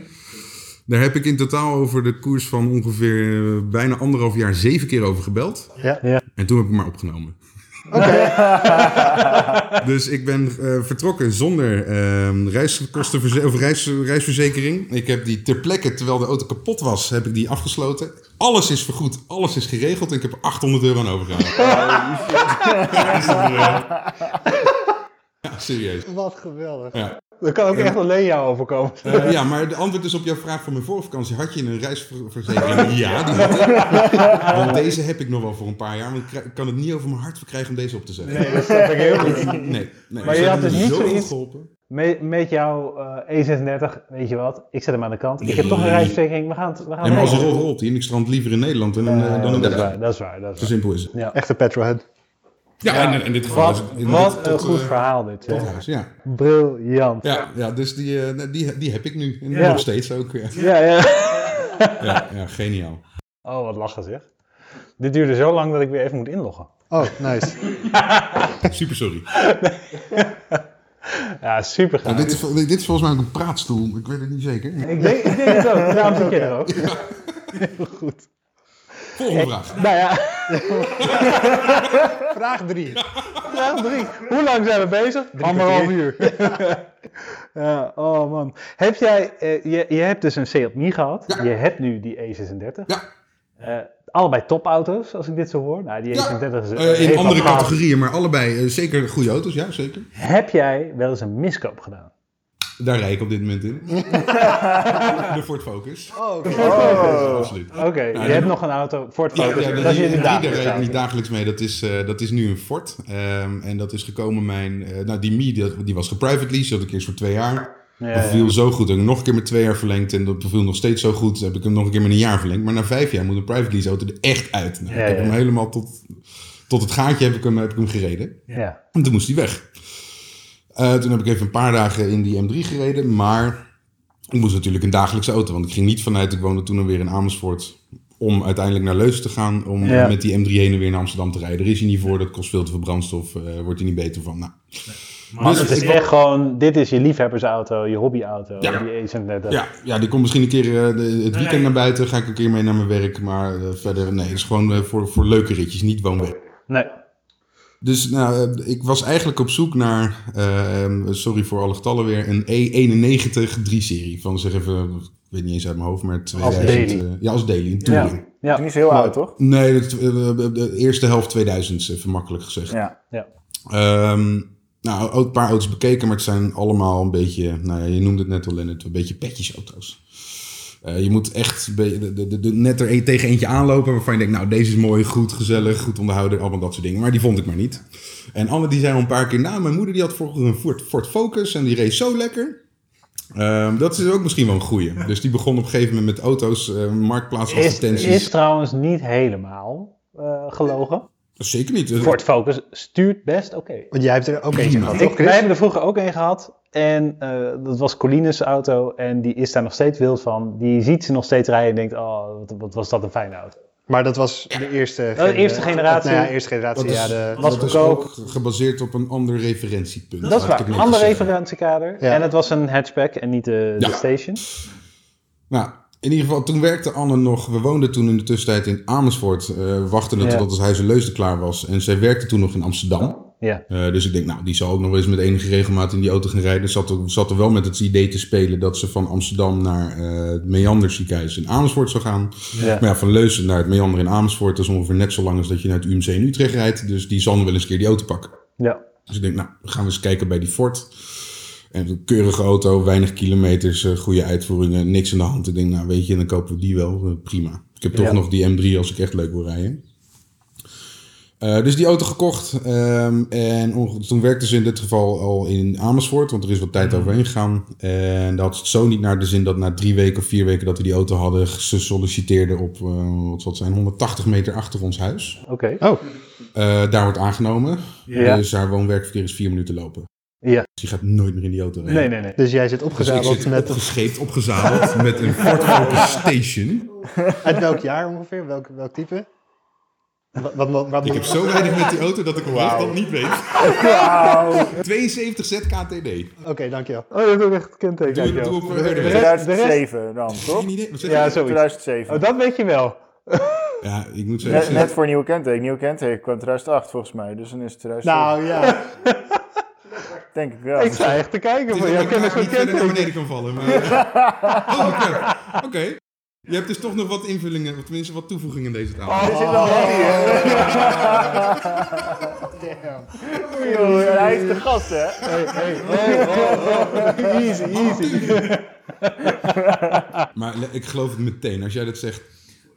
Speaker 4: Daar heb ik in totaal over de koers van ongeveer eh, bijna anderhalf jaar zeven keer over gebeld.
Speaker 5: Ja.
Speaker 3: Ja.
Speaker 4: En toen heb ik hem maar opgenomen.
Speaker 5: Oké.
Speaker 4: Dus ik ben eh, vertrokken zonder ehm reiskostenverze- of reis, reisverzekering. Ik heb die ter plekke, terwijl de auto kapot was, heb ik die afgesloten. Alles is vergoed, alles is geregeld en ik heb er 800 euro aan overgehouden. Dus, eh, ja, serieus.
Speaker 5: Wat geweldig.
Speaker 4: Ja.
Speaker 3: Dat kan ook echt alleen jou overkomen.
Speaker 4: Eh, ja, maar de antwoord is op jouw vraag van mijn vorige vakantie. Had je een reisverzekering? Ja, die had ik. Want deze heb ik nog wel voor een paar jaar. Want ik krij- ik kan het niet over mijn hart verkrijgen om deze op te zeggen.
Speaker 3: Nee, dat snap ik heel goed.
Speaker 4: Nee, nee.
Speaker 3: Maar
Speaker 4: Ze
Speaker 3: je had
Speaker 4: hebben
Speaker 3: dus niet
Speaker 4: zo goed
Speaker 3: zoiets-
Speaker 4: geholpen.
Speaker 3: Met, met jouw eh, E36, weet je wat, ik zet hem aan de kant. Ik heb toch een
Speaker 4: Nee.
Speaker 3: reisverzekering, we gaan het we gaan
Speaker 4: En maar
Speaker 3: het
Speaker 4: als een
Speaker 3: regelen.
Speaker 4: rol rolt die en ik strand liever in Nederland dan, in, eh,
Speaker 3: Eh,
Speaker 4: dan
Speaker 3: dat, is
Speaker 4: in Duitsland.
Speaker 3: waar, dat is waar, dat is
Speaker 4: Zo
Speaker 3: waar.
Speaker 4: simpel is het.
Speaker 5: Echte petrolhead.
Speaker 4: Ja, en in dit geval is
Speaker 3: Wat,
Speaker 4: Dus- het inderdaad
Speaker 3: wat een
Speaker 4: tot,
Speaker 3: goed
Speaker 4: eh,
Speaker 3: verhaal dit. hè.
Speaker 4: tot huis, ja.
Speaker 3: Briljant.
Speaker 4: Ja, ja, dus die, eh, nee, die, die heb ik nu. En
Speaker 3: Ja.
Speaker 4: nog steeds ook. Ja,
Speaker 3: Ja, ja.
Speaker 4: ja, ja, geniaal.
Speaker 3: Oh, wat lachen zeg. Dit duurde zo lang dat ik weer even moet inloggen.
Speaker 5: Oh, nice.
Speaker 4: Super sorry.
Speaker 3: Ja, super
Speaker 4: Nou,
Speaker 3: gaaf.
Speaker 4: dit, is, vol- dit is volgens mij ook een praatstoel. Ik weet het niet zeker.
Speaker 3: Ik, denk, ik denk het ook, daarom zit je er ook.
Speaker 4: Volgende vraag.
Speaker 3: Nou ja,
Speaker 5: Vraag drie.
Speaker 3: vraag drie. Hoe lang zijn we bezig? Anderhalf uur. ja, oh man. Heb jij, eh, je, je hebt dus een Seat Mii gehad.
Speaker 4: Ja.
Speaker 3: Je hebt nu die E36.
Speaker 4: Ja.
Speaker 3: Eh, allebei topauto's, als ik dit zo hoor. Nou, die
Speaker 4: Ja.
Speaker 3: E36 is
Speaker 4: Eh, in
Speaker 3: heeft wat
Speaker 4: andere
Speaker 3: gaaf.
Speaker 4: categorieën, maar allebei eh, zeker goede auto's. Ja, zeker.
Speaker 3: Heb jij wel eens een miskoop gedaan?
Speaker 4: Daar rijd ik op dit moment in. De Ford Focus.
Speaker 5: Oh, oké.
Speaker 4: Absoluut.
Speaker 3: Oké, je hebt nog een auto, Ford
Speaker 4: Ja,
Speaker 3: Focus.
Speaker 4: ja,
Speaker 3: dat is
Speaker 4: die-
Speaker 3: jullie
Speaker 4: die
Speaker 3: dagelijks
Speaker 4: daar rijd ik
Speaker 3: auto.
Speaker 4: niet dagelijks mee. Dat is, eh, dat is nu een Ford. Ehm, en dat is gekomen mijn... eh, nou, die Mi, die, die was geprivate lease. Dat ik eerst voor twee jaar.
Speaker 3: Ja,
Speaker 4: Dat
Speaker 3: ja.
Speaker 4: viel zo goed. Heb ik hem nog een keer met twee jaar verlengd. En dat viel nog steeds zo goed. Heb ik hem nog een keer met een jaar verlengd. Maar na vijf jaar moet een private lease auto er echt uit. Nou,
Speaker 3: Ja,
Speaker 4: ik heb
Speaker 3: ja.
Speaker 4: hem helemaal tot, tot het gaatje heb ik hem, heb ik hem gereden.
Speaker 3: Ja.
Speaker 4: En toen moest hij weg. Eh, toen heb ik even een paar dagen in die M3 gereden. Maar ik moest natuurlijk een dagelijkse auto. Want ik ging niet vanuit, ik woonde toen alweer in Amersfoort. Om uiteindelijk naar Leus te gaan. Om
Speaker 3: Ja.
Speaker 4: met die M3 heen en weer naar Amsterdam te rijden. Er is hij niet voor, dat kost veel te veel brandstof. eh, wordt hij niet beter van. Nou.
Speaker 3: Maar
Speaker 4: Dus
Speaker 3: het is
Speaker 4: ik-
Speaker 3: echt gewoon, dit is je liefhebbersauto, je hobbyauto,
Speaker 4: Ja.
Speaker 3: die E E36.
Speaker 4: ja, ja, die komt misschien een keer eh, de- het weekend naar buiten. Ga ik een keer mee naar mijn werk. Maar eh, verder, nee. Het is gewoon eh, voor, voor leuke ritjes, niet woonwerk.
Speaker 3: Nee.
Speaker 4: Dus nou, eh, ik was eigenlijk op zoek naar, ehm, sorry voor alle getallen weer, een E91 3-serie. Van zeg even, ik weet niet eens uit mijn hoofd, maar 2000.
Speaker 3: daily.
Speaker 4: eh, ja, als daily, een
Speaker 3: Ja.
Speaker 4: touring.
Speaker 3: Ja.
Speaker 2: Niet zo heel oud, toch?
Speaker 4: Nee, dat, eh, de, de eerste helft 2000, even makkelijk gezegd.
Speaker 2: Ja.
Speaker 4: Ehm, nou, ook een paar auto's bekeken, maar het zijn allemaal een beetje, nou ja, je noemde het net al, Lennart, een beetje petjesauto's. Eh, je moet echt een beetje de, de, de, de- net er een, tegen eentje aanlopen waarvan je denkt, nou, deze is mooi, goed, gezellig, goed onderhouden, allemaal dat soort dingen. Maar die vond ik maar niet. En Anne die zei al een paar keer, nou, mijn moeder die had vroeger een Ford, Ford Focus en die reed zo lekker. Ehm, dat is ook misschien wel een goeie. Dus die begon op een gegeven moment met auto's, eh, marktplaats als
Speaker 3: Is,
Speaker 4: advertenties.
Speaker 3: is trouwens niet helemaal eh, gelogen.
Speaker 4: Zeker niet.
Speaker 3: Ford Focus stuurt best oké.
Speaker 5: Want jij hebt er ook eentje gehad,
Speaker 3: Ik-
Speaker 5: toch,
Speaker 3: Wij
Speaker 5: Chris?
Speaker 3: hebben er vroeger ook een gehad. En eh, dat was Coline's auto. En die is daar nog steeds wild van. Die ziet ze nog steeds rijden en denkt, oh, wat, wat was dat een fijne auto. Oh,
Speaker 5: Maar dat was de eerste
Speaker 3: de eerste generatie.
Speaker 5: Nou ja, eerste generatie,
Speaker 4: Dat is-
Speaker 5: ja. De,
Speaker 3: Was
Speaker 4: dat is ook
Speaker 3: goedkoop.
Speaker 4: gebaseerd op een ander referentiepunt.
Speaker 3: Dat is
Speaker 4: laat ik het
Speaker 3: waar.
Speaker 4: netjes
Speaker 3: Ander
Speaker 4: zeggen.
Speaker 3: referentiekader.
Speaker 5: Ja.
Speaker 3: En het was een hatchback en niet de, de
Speaker 4: Ja.
Speaker 3: station.
Speaker 4: Nou, in ieder geval, toen werkte Anne nog. We woonden toen in de tussentijd in Amersfoort. eh wachtende
Speaker 3: Ja.
Speaker 4: totdat het huis in Leusden klaar was. En zij werkte toen nog in Amsterdam.
Speaker 3: Ja.
Speaker 4: Eh, dus ik denk, nou, die zal ook nog wel eens met enige regelmaat in die auto gaan rijden. Zat er, zat er wel met het idee te spelen dat ze van Amsterdam naar eh, het Meander ziekenhuis in Amersfoort zou gaan.
Speaker 3: Ja.
Speaker 4: Maar ja, van Leusden naar het Meander in Amersfoort, dat is ongeveer net zo lang als dat je naar het UMC in Utrecht rijdt. Dus die zal nog wel eens een keer die auto pakken.
Speaker 3: Ja.
Speaker 4: Dus ik denk, nou, gaan we eens kijken bij die Ford. En een keurige auto, weinig kilometers, eh, goede uitvoeringen, niks aan de hand. Ik denk, nou weet je, dan kopen we die wel, eh, prima. Ik heb toch
Speaker 3: Ja.
Speaker 4: nog die M3 als ik echt leuk wil rijden. Eh, dus die auto gekocht. ehm, en onge- toen werkte ze in dit geval al in Amersfoort, want er is wat tijd overheen gegaan. En dat had het zo niet naar de zin dat na drie weken of vier weken dat we die auto hadden, ze solliciteerden op, eh, wat zal het zijn, 180 meter achter ons huis.
Speaker 3: Oké.
Speaker 5: Oh,
Speaker 4: Eh, daar wordt aangenomen.
Speaker 3: Ja.
Speaker 4: Dus haar woon-werkverkeer is vier minuten lopen.
Speaker 3: Ja.
Speaker 4: Dus die gaat nooit meer in die auto rijden.
Speaker 3: Nee, nee, nee.
Speaker 5: dus jij zit
Speaker 4: Dus ik
Speaker 5: opgezadeld
Speaker 4: zit
Speaker 5: met...
Speaker 4: opgescheept, opgezadeld met een Ford Focus Station.
Speaker 5: Uit welk jaar ongeveer? Welk, welk type? Wat, wat, wat, wat-
Speaker 4: Ik heb zo weinig met die auto dat ik hem echt al niet weet.
Speaker 2: Wauw.
Speaker 4: 72 ZKTD.
Speaker 5: Oké, dankjewel.
Speaker 3: Oh, dat is ook echt kenteken.
Speaker 4: Doe, doe
Speaker 3: dankjewel.
Speaker 4: op eh, RDW.
Speaker 3: rest-
Speaker 2: 2007 dan, toch?
Speaker 4: Geen idee. Wat zeg je?
Speaker 3: Ja, zoiets.
Speaker 2: 2007.
Speaker 3: Oh, dat weet je wel.
Speaker 4: Ja, ik moet
Speaker 2: Net,
Speaker 4: zeggen.
Speaker 2: net voor nieuwe kenteken. Nieuwe kenteken kwam 2008 volgens mij, dus dan is het 2007.
Speaker 5: Nou ja,
Speaker 2: denk ik wel.
Speaker 3: Ik sta echt te kijken
Speaker 4: het
Speaker 3: voor
Speaker 4: is
Speaker 3: jouw
Speaker 4: dat ik
Speaker 3: kennis van
Speaker 4: elkaar niet verder naar
Speaker 3: kenteken.
Speaker 4: beneden kan vallen. Maar... Oh, oké. Oké. Je hebt dus toch nog wat invullingen, of tenminste wat toevoegingen in deze taal.
Speaker 3: Oh.
Speaker 2: Er zit wel wat in, hè? Oei, en Hij is de gast, hè?
Speaker 3: Easy, easy.
Speaker 4: Maar le- ik geloof het meteen. Als jij dat zegt,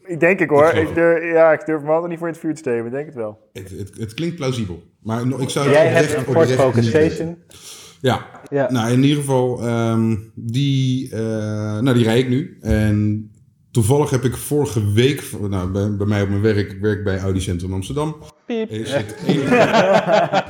Speaker 2: Ik denk ik hoor.
Speaker 4: Ik geloof
Speaker 2: Ik durf, ja, ik durf me altijd niet voor in het vuur te steken, maar ik denk het wel.
Speaker 4: het, het, het klinkt plausibel. Maar no- ik zou het
Speaker 3: Jij
Speaker 4: oprecht-
Speaker 3: hebt een Ford
Speaker 4: oprecht
Speaker 3: Focus
Speaker 4: niet weten.
Speaker 3: Station.
Speaker 4: Ja.
Speaker 3: Ja.
Speaker 4: Nou, in ieder geval, ehm, die, eh, nou, die rij ik nu. En toevallig heb ik vorige week, nou, bij, bij mij op mijn werk, ik werk bij Audi Centrum Amsterdam.
Speaker 3: Piep.
Speaker 4: Is het enige-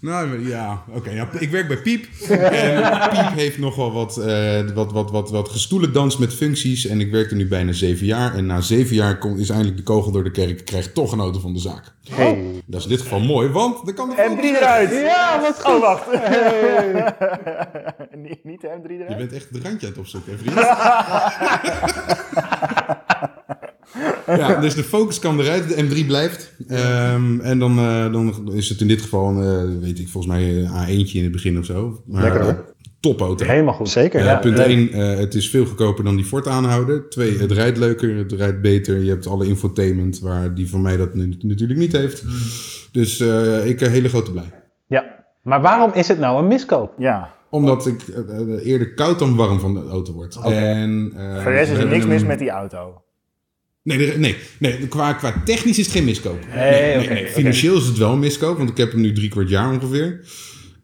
Speaker 4: Nou, maar ja, oké. ja, ik werk bij Piep. En Piep heeft nogal wat, eh wat, wat, wat, wat gestoelendans met functies. En ik werk er nu bijna zeven jaar. En na zeven jaar komt is eindelijk de kogel door de kerk. Ik krijg toch een auto van de zaak. Dat is in dit geval mooi, want dan kan de
Speaker 2: M3 eruit! Ja, wat goed! Oh, wacht. Nee, niet de M3
Speaker 4: Je
Speaker 2: eruit?
Speaker 4: bent echt het randje aan het opzoeken, hè, vriend? ja, dus de focus kan eruit, de M3 blijft. Ehm, en dan, eh, dan is het in dit geval, een, eh, weet ik, volgens mij een A1'tje in het begin of zo. Maar,
Speaker 5: Lekker, hoor.
Speaker 4: eh, Topauto.
Speaker 3: Helemaal goed.
Speaker 5: zeker.
Speaker 4: Eh,
Speaker 3: Ja,
Speaker 4: punt
Speaker 3: leuk.
Speaker 4: 1, het is veel goedkoper dan die Ford aanhouden. Twee, het rijdt leuker, het rijdt beter. Je hebt alle infotainment, waar die van mij dat nu, natuurlijk niet heeft. Dus eh, ik een hele grote blij.
Speaker 3: Ja. Maar waarom is het nou een miskoop?
Speaker 2: Ja.
Speaker 4: Omdat ik eh, eh, eerder koud dan warm van de auto word. En, eh,
Speaker 2: Voor de rest is
Speaker 4: we
Speaker 2: er niks
Speaker 4: hebben
Speaker 2: mis
Speaker 4: een-
Speaker 2: met die auto.
Speaker 4: Nee, er- nee, nee qua, qua technisch is het geen miskoop. Nee,
Speaker 3: oké, oké.
Speaker 4: Financieel is het wel een miskoop, want ik heb hem nu drie kwart jaar ongeveer.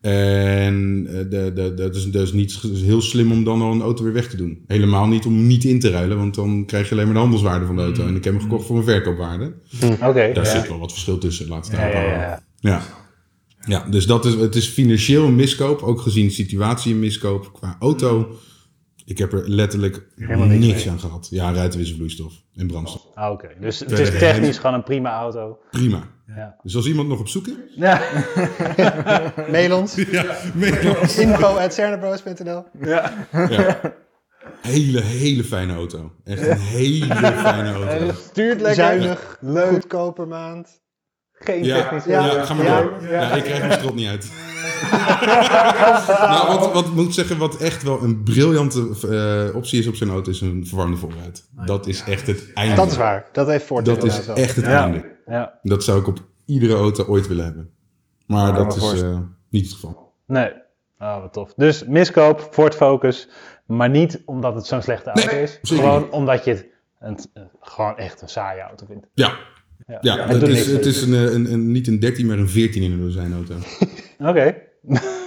Speaker 4: En eh, de- de- dat is, dat is niet ge- heel slim om dan al een auto weer weg te doen. Helemaal niet om hem niet in te ruilen, want dan krijg je alleen maar de handelswaarde van de
Speaker 2: Mm.
Speaker 4: auto. En ik heb hem gekocht voor mijn verkoopwaarde.
Speaker 3: Oké. ja.
Speaker 4: Daar zit wel wat verschil tussen, laat het
Speaker 3: Ja,
Speaker 4: daarop
Speaker 3: ja,
Speaker 4: houden.
Speaker 3: ja.
Speaker 4: Ja. ja, dus dat is, het is financieel een miskoop, ook gezien de situatie een miskoop. Qua auto, ik heb er letterlijk niks, aan gehad. Ja, ruitenwisselvloeistof en brandstof.
Speaker 3: Ah, Oké. Dus het is technisch gewoon een prima auto.
Speaker 4: Prima.
Speaker 3: Ja.
Speaker 4: Dus als iemand nog op zoek is...
Speaker 3: Ja.
Speaker 5: Mail ons.
Speaker 4: Ja, mega.
Speaker 5: Info at cernabros.nl.
Speaker 3: ja.
Speaker 4: Ja. Hele, hele fijne auto. Echt een hele fijne auto.
Speaker 3: Stuurt lekker.
Speaker 5: Zuinig, goedkoper maand.
Speaker 3: Geen
Speaker 4: Ja,
Speaker 3: technisch.
Speaker 4: ja,
Speaker 5: Ja.
Speaker 4: ga maar
Speaker 5: Ja.
Speaker 4: door. Ja, ik krijg mijn strot niet uit. nou, wat, wat moet ik zeggen, wat echt wel een briljante eh, optie is op zijn auto, is een verwarmde voorruit. Dat is echt het einde.
Speaker 5: Dat is waar. Dat heeft Ford
Speaker 4: Dat is
Speaker 5: inderdaad wel.
Speaker 4: echt het
Speaker 3: Ja.
Speaker 4: einde.
Speaker 3: Ja.
Speaker 4: Dat zou ik op iedere auto ooit willen hebben. Maar dat
Speaker 2: maar
Speaker 4: is eh, niet het geval.
Speaker 3: Nee. Ah, wat tof. Dus miskoop, Ford Focus. Maar niet omdat het zo'n slechte auto
Speaker 4: Nee,
Speaker 3: is.
Speaker 4: zeker
Speaker 3: Gewoon
Speaker 4: niet.
Speaker 3: omdat je het een- eh, gewoon echt een saaie auto vindt.
Speaker 4: Ja. Ja, het,
Speaker 3: doet
Speaker 4: is,
Speaker 3: niks.
Speaker 4: het is een, eh, een, een, niet een 13, maar een 14 in een zijn auto.
Speaker 3: Oké.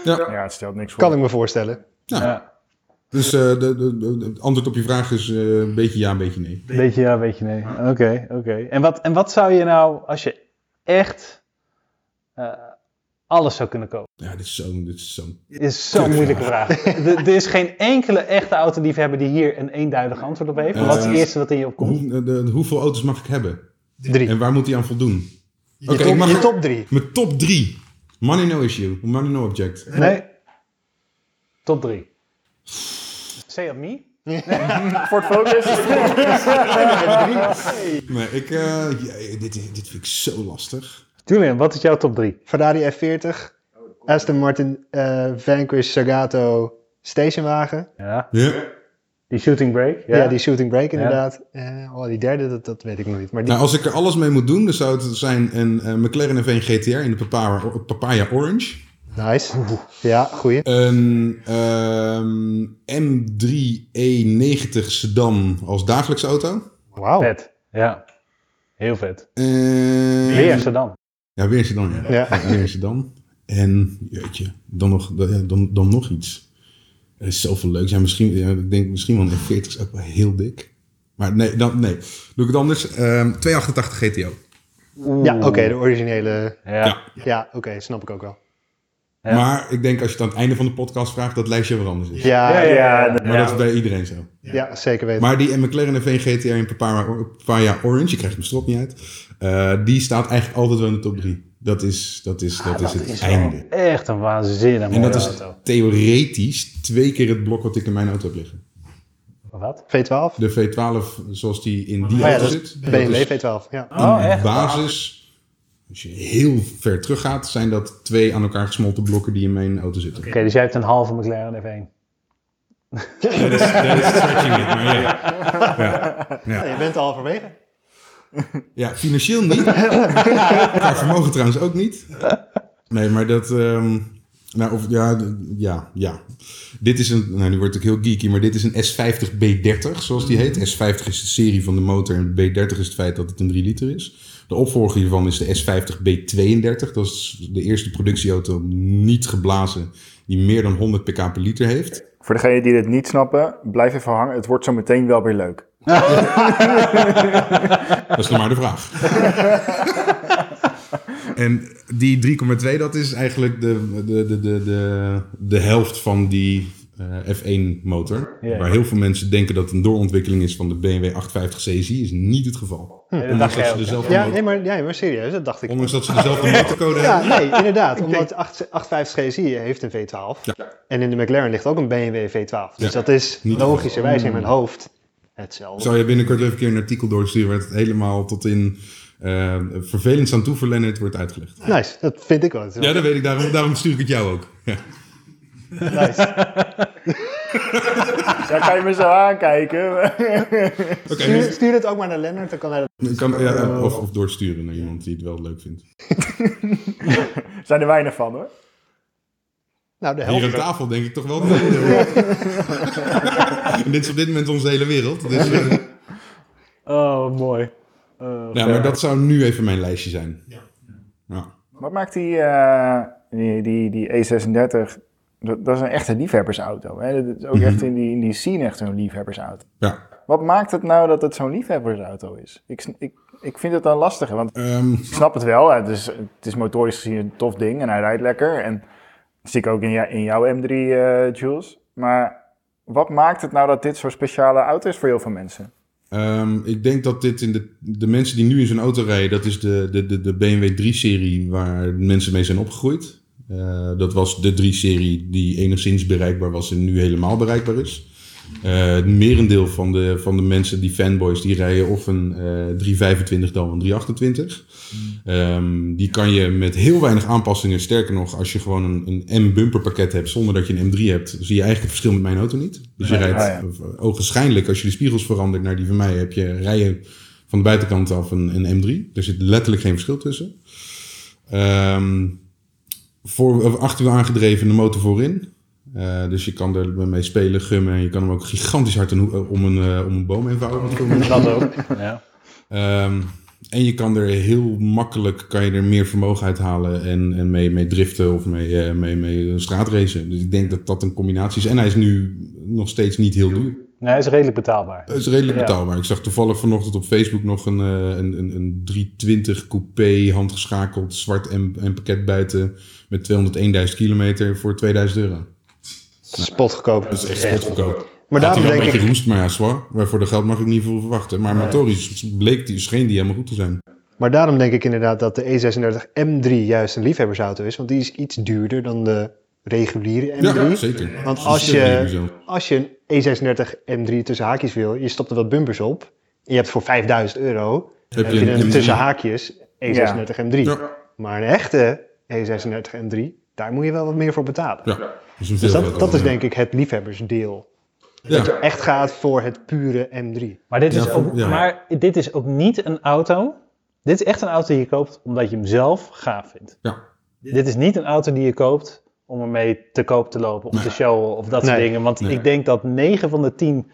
Speaker 4: Ja.
Speaker 2: Ja, het stelt niks voor.
Speaker 5: Kan ik me voorstellen.
Speaker 3: Ja.
Speaker 4: Dus eh, de, de, de- het antwoord op je vraag is eh, een beetje ja, een beetje nee.
Speaker 3: Beetje ja, beetje nee. Oké, oké. En, wat, en wat zou je nou, als je echt eh, alles zou kunnen kopen?
Speaker 4: Ja, dit is zo'n... dit is zo'n-
Speaker 3: Is zo'n
Speaker 4: Kut
Speaker 3: moeilijke vraag. Er- Er is geen enkele echte autoliefhebber die hier een eenduidig antwoord op heeft. Maar wat is het
Speaker 4: Eh,
Speaker 3: eerste wat in je opkomt?
Speaker 4: Hoe, eh, de- hoeveel auto's mag ik hebben?
Speaker 5: Drie.
Speaker 4: En waar moet die aan voldoen? Oké,
Speaker 5: je,
Speaker 4: ik
Speaker 5: top,
Speaker 4: mag
Speaker 5: je top drie.
Speaker 4: mijn top 3. Money no issue. Money no object.
Speaker 3: Nee. Top drie. Say of me?
Speaker 2: Ford Focus?
Speaker 4: Nee, ik, eh, ja, dit, dit vind ik zo lastig.
Speaker 3: Julian, wat is jouw top drie?
Speaker 5: Ferrari F40. Aston Martin eh, Vanquish Sagato stationwagen.
Speaker 3: Ja.
Speaker 4: Ja.
Speaker 3: Die shooting break?
Speaker 5: Ja, die shooting break inderdaad. Eh, oh, die derde, dat, dat weet ik nog niet. Maar die,
Speaker 4: Nou, als ik er alles mee moet doen, dan zou het zijn een eh, McLaren F1 GTR in de papaya, papaya orange.
Speaker 5: nice. Ja, goeie.
Speaker 4: Een ehm, M3 E90 sedan als dagelijkse auto.
Speaker 5: Wauw.
Speaker 3: Vet. Ja. Heel vet.
Speaker 4: En-
Speaker 3: Weer Amsterdam.
Speaker 4: Ja, weer Sedan, ja.
Speaker 5: Ja.
Speaker 4: ja. weer Sedan. En, jeetje, dan nog, dan- ja, dan, dan nog iets. Er is zoveel leuks. Ja, misschien, ja, ik denk misschien wel een 40 is ook wel heel dik. Maar nee, dan, nee. doe ik het anders. Ehm, 288 GTO.
Speaker 5: Ja, oké, de originele.
Speaker 3: Ja.
Speaker 4: Ja.
Speaker 5: Ja, oké, snap ik ook wel.
Speaker 3: Ja.
Speaker 4: Maar ik denk als je het aan het einde van de podcast vraagt, dat lijstje weer anders is.
Speaker 5: Ja, ja,
Speaker 2: dat-
Speaker 4: Maar dat is bij iedereen zo.
Speaker 5: zeker weten.
Speaker 4: Maar die McLaren V GTR in Papaya, Papaya Orange, je krijgt mijn strop niet uit. eh, die staat eigenlijk altijd wel in de top 3. Dat is, dat is, dat is het
Speaker 3: Ah, wel
Speaker 4: einde.
Speaker 3: Echt een waanzinnig
Speaker 4: En
Speaker 3: mooie
Speaker 4: dat is
Speaker 3: auto.
Speaker 4: theoretisch twee keer het blok wat ik in mijn auto heb liggen.
Speaker 3: Wat?
Speaker 5: V12?
Speaker 4: De V12 zoals die in die
Speaker 5: Maar ja,
Speaker 4: auto
Speaker 5: dat is
Speaker 4: zit.
Speaker 5: BMW V12, ja.
Speaker 4: in
Speaker 3: Oh, echt?
Speaker 4: basis, als je heel ver terug gaat, zijn dat twee aan elkaar gesmolten blokken die in mijn auto zitten.
Speaker 3: Oké, dus jij hebt een halve McLaren F1.
Speaker 4: Dat is, dat is stretching it, maar ja.
Speaker 5: Ja, je bent al halverwege.
Speaker 4: Ja, financieel niet. Qua vermogen trouwens ook niet. Nee, maar dat... ehm, nou, of, ja, d- ja, ja. Dit is een... Nou, nu word ik heel geeky, maar dit is een S50B30, zoals die heet. S50 is de serie van de motor en B30 is het feit dat het een 3 liter is. De opvolger hiervan is de S50B32. Dat is de eerste productieauto niet geblazen die meer dan 100 pk per liter heeft.
Speaker 2: Voor degenen die dit niet snappen, blijf even hangen. Het wordt zo meteen wel weer leuk.
Speaker 4: Dat is nog maar de vraag. en die 3,2, dat is eigenlijk de, de, de, de, de, de helft van die eh, F1 motor.
Speaker 3: Ja.
Speaker 4: Waar heel veel mensen denken dat het een doorontwikkeling is van de BMW 850cc, is niet het geval. Ondanks,
Speaker 3: Hm. dacht
Speaker 4: dat
Speaker 3: jij
Speaker 4: ze
Speaker 3: ook,
Speaker 4: dezelfde
Speaker 5: Ja,
Speaker 4: motor,
Speaker 5: nee, maar, ja, maar serieus, dat dacht ik.
Speaker 4: ondanks dat ze dezelfde motorcode
Speaker 5: Ja,
Speaker 4: hebben.
Speaker 5: nee, inderdaad. Omdat 8- 850 GSI heeft een V12.
Speaker 4: Ja.
Speaker 5: En in de McLaren ligt ook een BMW V12. Dus
Speaker 4: Ja.
Speaker 5: dat is
Speaker 4: Niet Hmm.
Speaker 5: logischerwijs in mijn hoofd hetzelfde.
Speaker 4: Ik zal je binnenkort even een keer een artikel doorsturen waar het helemaal tot in eh vervelend aan toe voor Lennart wordt uitgelegd.
Speaker 5: Nice, dat vind ik wel. Dat is wel
Speaker 4: Ja, dat weet ik. Daarom, daarom stuur ik het jou ook. Ja.
Speaker 5: nice.
Speaker 2: Daar kan je me zo aankijken.
Speaker 4: Oké,
Speaker 5: Stuur, stuur het ook maar naar Lennart, dan kan hij dat...
Speaker 4: ik kan, ja, of, of doorsturen naar iemand die het wel leuk vindt.
Speaker 2: zijn er weinig van hoor.
Speaker 5: Nou, de
Speaker 4: Hier
Speaker 5: helft.
Speaker 4: aan tafel denk ik toch wel. het merendeel. en dit is op dit moment onze hele wereld. Dus, eh,
Speaker 3: Oh, mooi.
Speaker 4: ja, maar dat zou nu even mijn lijstje zijn. Ja.
Speaker 2: Wat maakt die, eh, die, die, die E36? Dat, dat is een echte liefhebbersauto. Hè? Dat is ook
Speaker 5: Mhm.
Speaker 2: echt in die, in die scene echt een liefhebbersauto.
Speaker 4: ja.
Speaker 2: Wat maakt het nou dat het zo'n liefhebbersauto is? Ik, sn- ik, ik vind het dan lastiger, want
Speaker 4: Ehm,
Speaker 2: ik snap het wel. Het is, het is motorisch gezien een tof ding en hij rijdt lekker. En dat zie ik ook in, jou- in jouw M3, eh, Jules. Maar wat maakt het nou dat dit zo'n speciale auto is voor heel veel mensen?
Speaker 4: ehm, ik denk dat dit in de, de mensen die nu in zo'n auto rijden, dat is de, de, de, de BMW 3-serie waar mensen mee zijn opgegroeid. Eh, dat was de 3-serie die enigszins bereikbaar was en nu helemaal bereikbaar is. Eh, het merendeel van de, van de mensen, die fanboys, die rijden of een eh 325 dan een 328. Ehm, die kan je met heel weinig aanpassingen, sterker nog, als je gewoon een, een M-bumperpakket hebt zonder dat je een M3 hebt, zie je eigenlijk het verschil met mijn auto niet. Dus je rijdt
Speaker 2: ja,
Speaker 4: eh, ogenschijnlijk, als je de spiegels verandert naar die van mij, heb je rijden van de buitenkant af een, een M3. Er zit letterlijk geen verschil tussen. Ehm voor, of achterwiel aangedreven, de motor voorin. Eh, dus je kan er mee spelen, gummen. en Je kan hem ook gigantisch hard een hoe- om, een, eh, om een boom heen vouwen. om het zo maar te
Speaker 3: Dat ook. Ja.
Speaker 4: Ehm, en je kan er heel makkelijk kan je er meer vermogen uit halen en, en mee, mee driften of mee, eh, mee, mee straatracen. Dus ik denk dat dat een combinatie is. En hij is nu nog steeds niet heel duur.
Speaker 3: Nee, hij is redelijk betaalbaar.
Speaker 4: Het is redelijk
Speaker 3: Ja.
Speaker 4: betaalbaar. Ik zag toevallig vanochtend op Facebook nog een, eh, een, een, een 320 coupé handgeschakeld zwart en, en pakket buiten met 201.000 kilometer voor 2000 euro.
Speaker 5: Spot gekopen.
Speaker 4: Dat is dus echt goedkoop.
Speaker 5: Maar
Speaker 4: Had hij wel
Speaker 5: daarom
Speaker 4: een
Speaker 5: denk
Speaker 4: beetje
Speaker 5: ik...
Speaker 4: roest, maar ja, zwaar. Waarvoor de geld mag ik niet veel verwachten. Maar motorisch bleek die, scheen die helemaal goed te zijn.
Speaker 5: Maar daarom denk ik inderdaad dat de E E36 M3 juist een liefhebbersauto is. Want die is iets duurder dan de reguliere M3.
Speaker 4: Ja, zeker.
Speaker 5: Want
Speaker 4: Dat
Speaker 5: als
Speaker 4: is heel duur
Speaker 5: je,
Speaker 4: zo.
Speaker 5: als je een E E36 M3 tussen haakjes wil, je stopt er wat bumpers op. En je hebt voor 5000 euro,
Speaker 4: Heb
Speaker 5: heb je een
Speaker 4: M3?
Speaker 5: tussen haakjes E E36 M3.
Speaker 4: Ja.
Speaker 5: Maar een echte E E36 M3, daar moet je wel wat meer voor betalen.
Speaker 4: Ja, dat is een
Speaker 5: Dus dat,
Speaker 4: veelvoud
Speaker 5: dat is
Speaker 4: over.
Speaker 5: denk ik het liefhebbersdeel.
Speaker 4: Ja.
Speaker 5: Dat je echt gaat voor het pure M3.
Speaker 3: Maar dit, is
Speaker 4: Ja,
Speaker 3: ook,
Speaker 4: ja.
Speaker 3: maar dit is ook niet een auto. Dit is echt een auto die je koopt omdat je hem zelf gaaf vindt.
Speaker 4: Ja.
Speaker 3: Dit is niet een auto die je koopt om ermee te koop te lopen, om te showen of dat soort
Speaker 5: Nee.
Speaker 3: dingen. Want
Speaker 4: Nee.
Speaker 3: ik denk dat 9 van de 10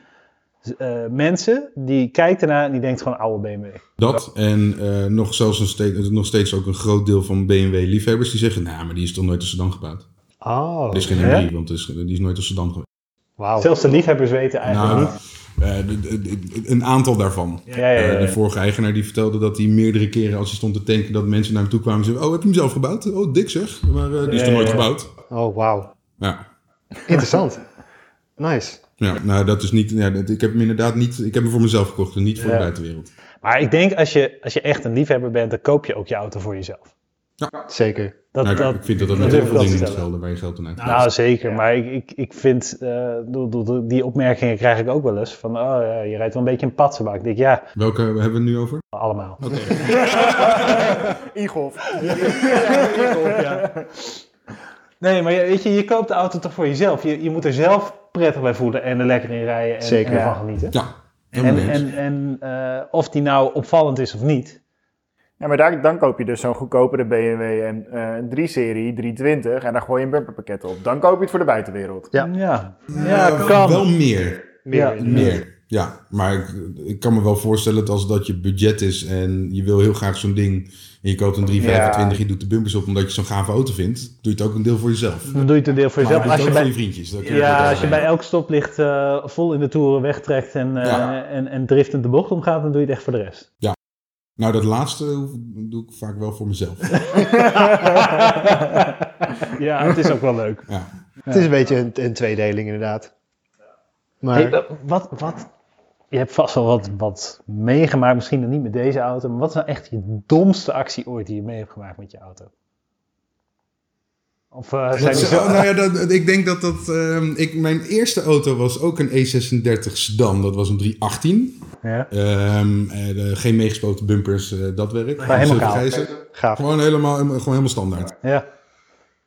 Speaker 3: eh, mensen die kijkt ernaar en die denkt gewoon oude BMW.
Speaker 4: Dat en eh, nog zelfs een steeds, nog steeds ook een groot deel van BMW-liefhebbers die zeggen... nou, maar die is toch nooit in Sedan gebouwd?
Speaker 5: Oh,
Speaker 4: Er is geen
Speaker 3: hè?
Speaker 4: M3, want er is- die is nooit in Sedan gebouwd.
Speaker 5: wauw.
Speaker 3: Zelfs de liefhebbers weten eigenlijk
Speaker 4: Nou,
Speaker 3: niet.
Speaker 4: eh, d- d- d- een aantal daarvan.
Speaker 3: Ja, ja, ja,
Speaker 4: Eh,
Speaker 3: ja.
Speaker 4: de vorige eigenaar die vertelde dat hij meerdere keren als hij stond te tanken... dat mensen naar hem toe kwamen en zeiden... oh, heb je hem zelf gebouwd? Oh, dik zeg. Maar eh, die is
Speaker 3: Ja,
Speaker 4: toch nooit
Speaker 3: ja, ja.
Speaker 4: gebouwd?
Speaker 5: Oh, wauw.
Speaker 4: Ja.
Speaker 5: Interessant. nice.
Speaker 4: Ja, nou dat is niet. Ja, dat- ik heb hem inderdaad niet. Ik heb hem voor mezelf gekocht en niet voor de
Speaker 3: Ja.
Speaker 4: buitenwereld.
Speaker 3: Maar ik denk als je, als je echt een liefhebber bent, dan koop je ook je auto voor jezelf.
Speaker 5: Zeker.
Speaker 3: Dat,
Speaker 4: Nou, ik-
Speaker 3: dat,
Speaker 4: ik vind dat dat
Speaker 3: dat
Speaker 4: met
Speaker 3: durf
Speaker 4: heel
Speaker 3: ik
Speaker 4: veel
Speaker 3: wel
Speaker 4: dingen
Speaker 3: te
Speaker 4: moet
Speaker 3: stellen.
Speaker 4: gelden waar je geld aan uitgeeft.
Speaker 3: Nou, zeker. Maar ik, ik, ik vind, eh, doe- doe- doe- die opmerkingen krijg ik ook wel eens. Van, oh ja, je rijdt wel een beetje een patsenbak. Ik denk, ja,
Speaker 4: Welke hebben we het nu over?
Speaker 3: allemaal.
Speaker 2: Igolf.
Speaker 3: Nee, maar je- weet je, je koopt de auto toch voor jezelf. Je, je moet er zelf prettig bij voelen en er lekker in rijden en,
Speaker 5: Zeker.
Speaker 3: en ervan genieten.
Speaker 4: Ja. helemaal
Speaker 3: En,
Speaker 4: eens.
Speaker 3: en, en eh, of die nou opvallend is of niet.
Speaker 2: Ja, maar daar, dan koop je dus zo'n goedkopere BMW en, eh, een 3-serie, 320 en daar gooi je een bumperpakket op. Dan koop je het voor de buitenwereld.
Speaker 5: Ja.
Speaker 3: ja. Ja,
Speaker 4: Eh,
Speaker 3: kan.
Speaker 4: Wel meer.
Speaker 5: Meer
Speaker 3: Ja.
Speaker 5: inderdaad.
Speaker 4: Meer. Ja, maar ik, ik kan me wel voorstellen dat als dat je budget is en je wil heel graag zo'n ding en je koopt een 325, je doet de bumpers op omdat je zo'n gave auto vindt, doe je het ook een deel voor jezelf.
Speaker 3: Dan doe je het een deel voor
Speaker 4: Maar
Speaker 3: jezelf.
Speaker 4: doe
Speaker 3: Dus Als
Speaker 4: het
Speaker 3: je
Speaker 4: ook voor je
Speaker 3: bij,
Speaker 4: vriendjes. dan kun je het
Speaker 3: ja,
Speaker 4: ook
Speaker 3: als je bij
Speaker 4: allebei.
Speaker 3: elk stoplicht eh, vol in de toeren wegtrekt en, eh,
Speaker 4: Ja.
Speaker 3: en, en driftend de bocht omgaat, dan doe je het echt voor de rest.
Speaker 4: Nou, dat laatste hoef- doe ik vaak wel voor mezelf.
Speaker 3: ja, het is ook wel leuk.
Speaker 4: Ja.
Speaker 5: Het is een beetje een, een tweedeling inderdaad. Maar
Speaker 3: Hey, eh, wat, wat, je hebt vast wel wat, wat meegemaakt, misschien dan niet met deze auto, maar wat is nou echt je domste actie ooit die je mee hebt gemaakt met je auto? Of eh, zijn die
Speaker 4: Zo,
Speaker 3: zo...
Speaker 4: nou ja, dat, ik denk dat dat... ehm, ik, mijn eerste auto was ook een E36 sedan. Dat was een 318.
Speaker 3: Ja.
Speaker 4: Ehm, eh, de- geen meegespoten bumpers, eh, dat werk.
Speaker 3: helemaal
Speaker 4: Zulke
Speaker 3: kaal.
Speaker 4: grijze.
Speaker 5: gaaf.
Speaker 4: Gewoon helemaal, gewoon helemaal standaard.
Speaker 3: ja.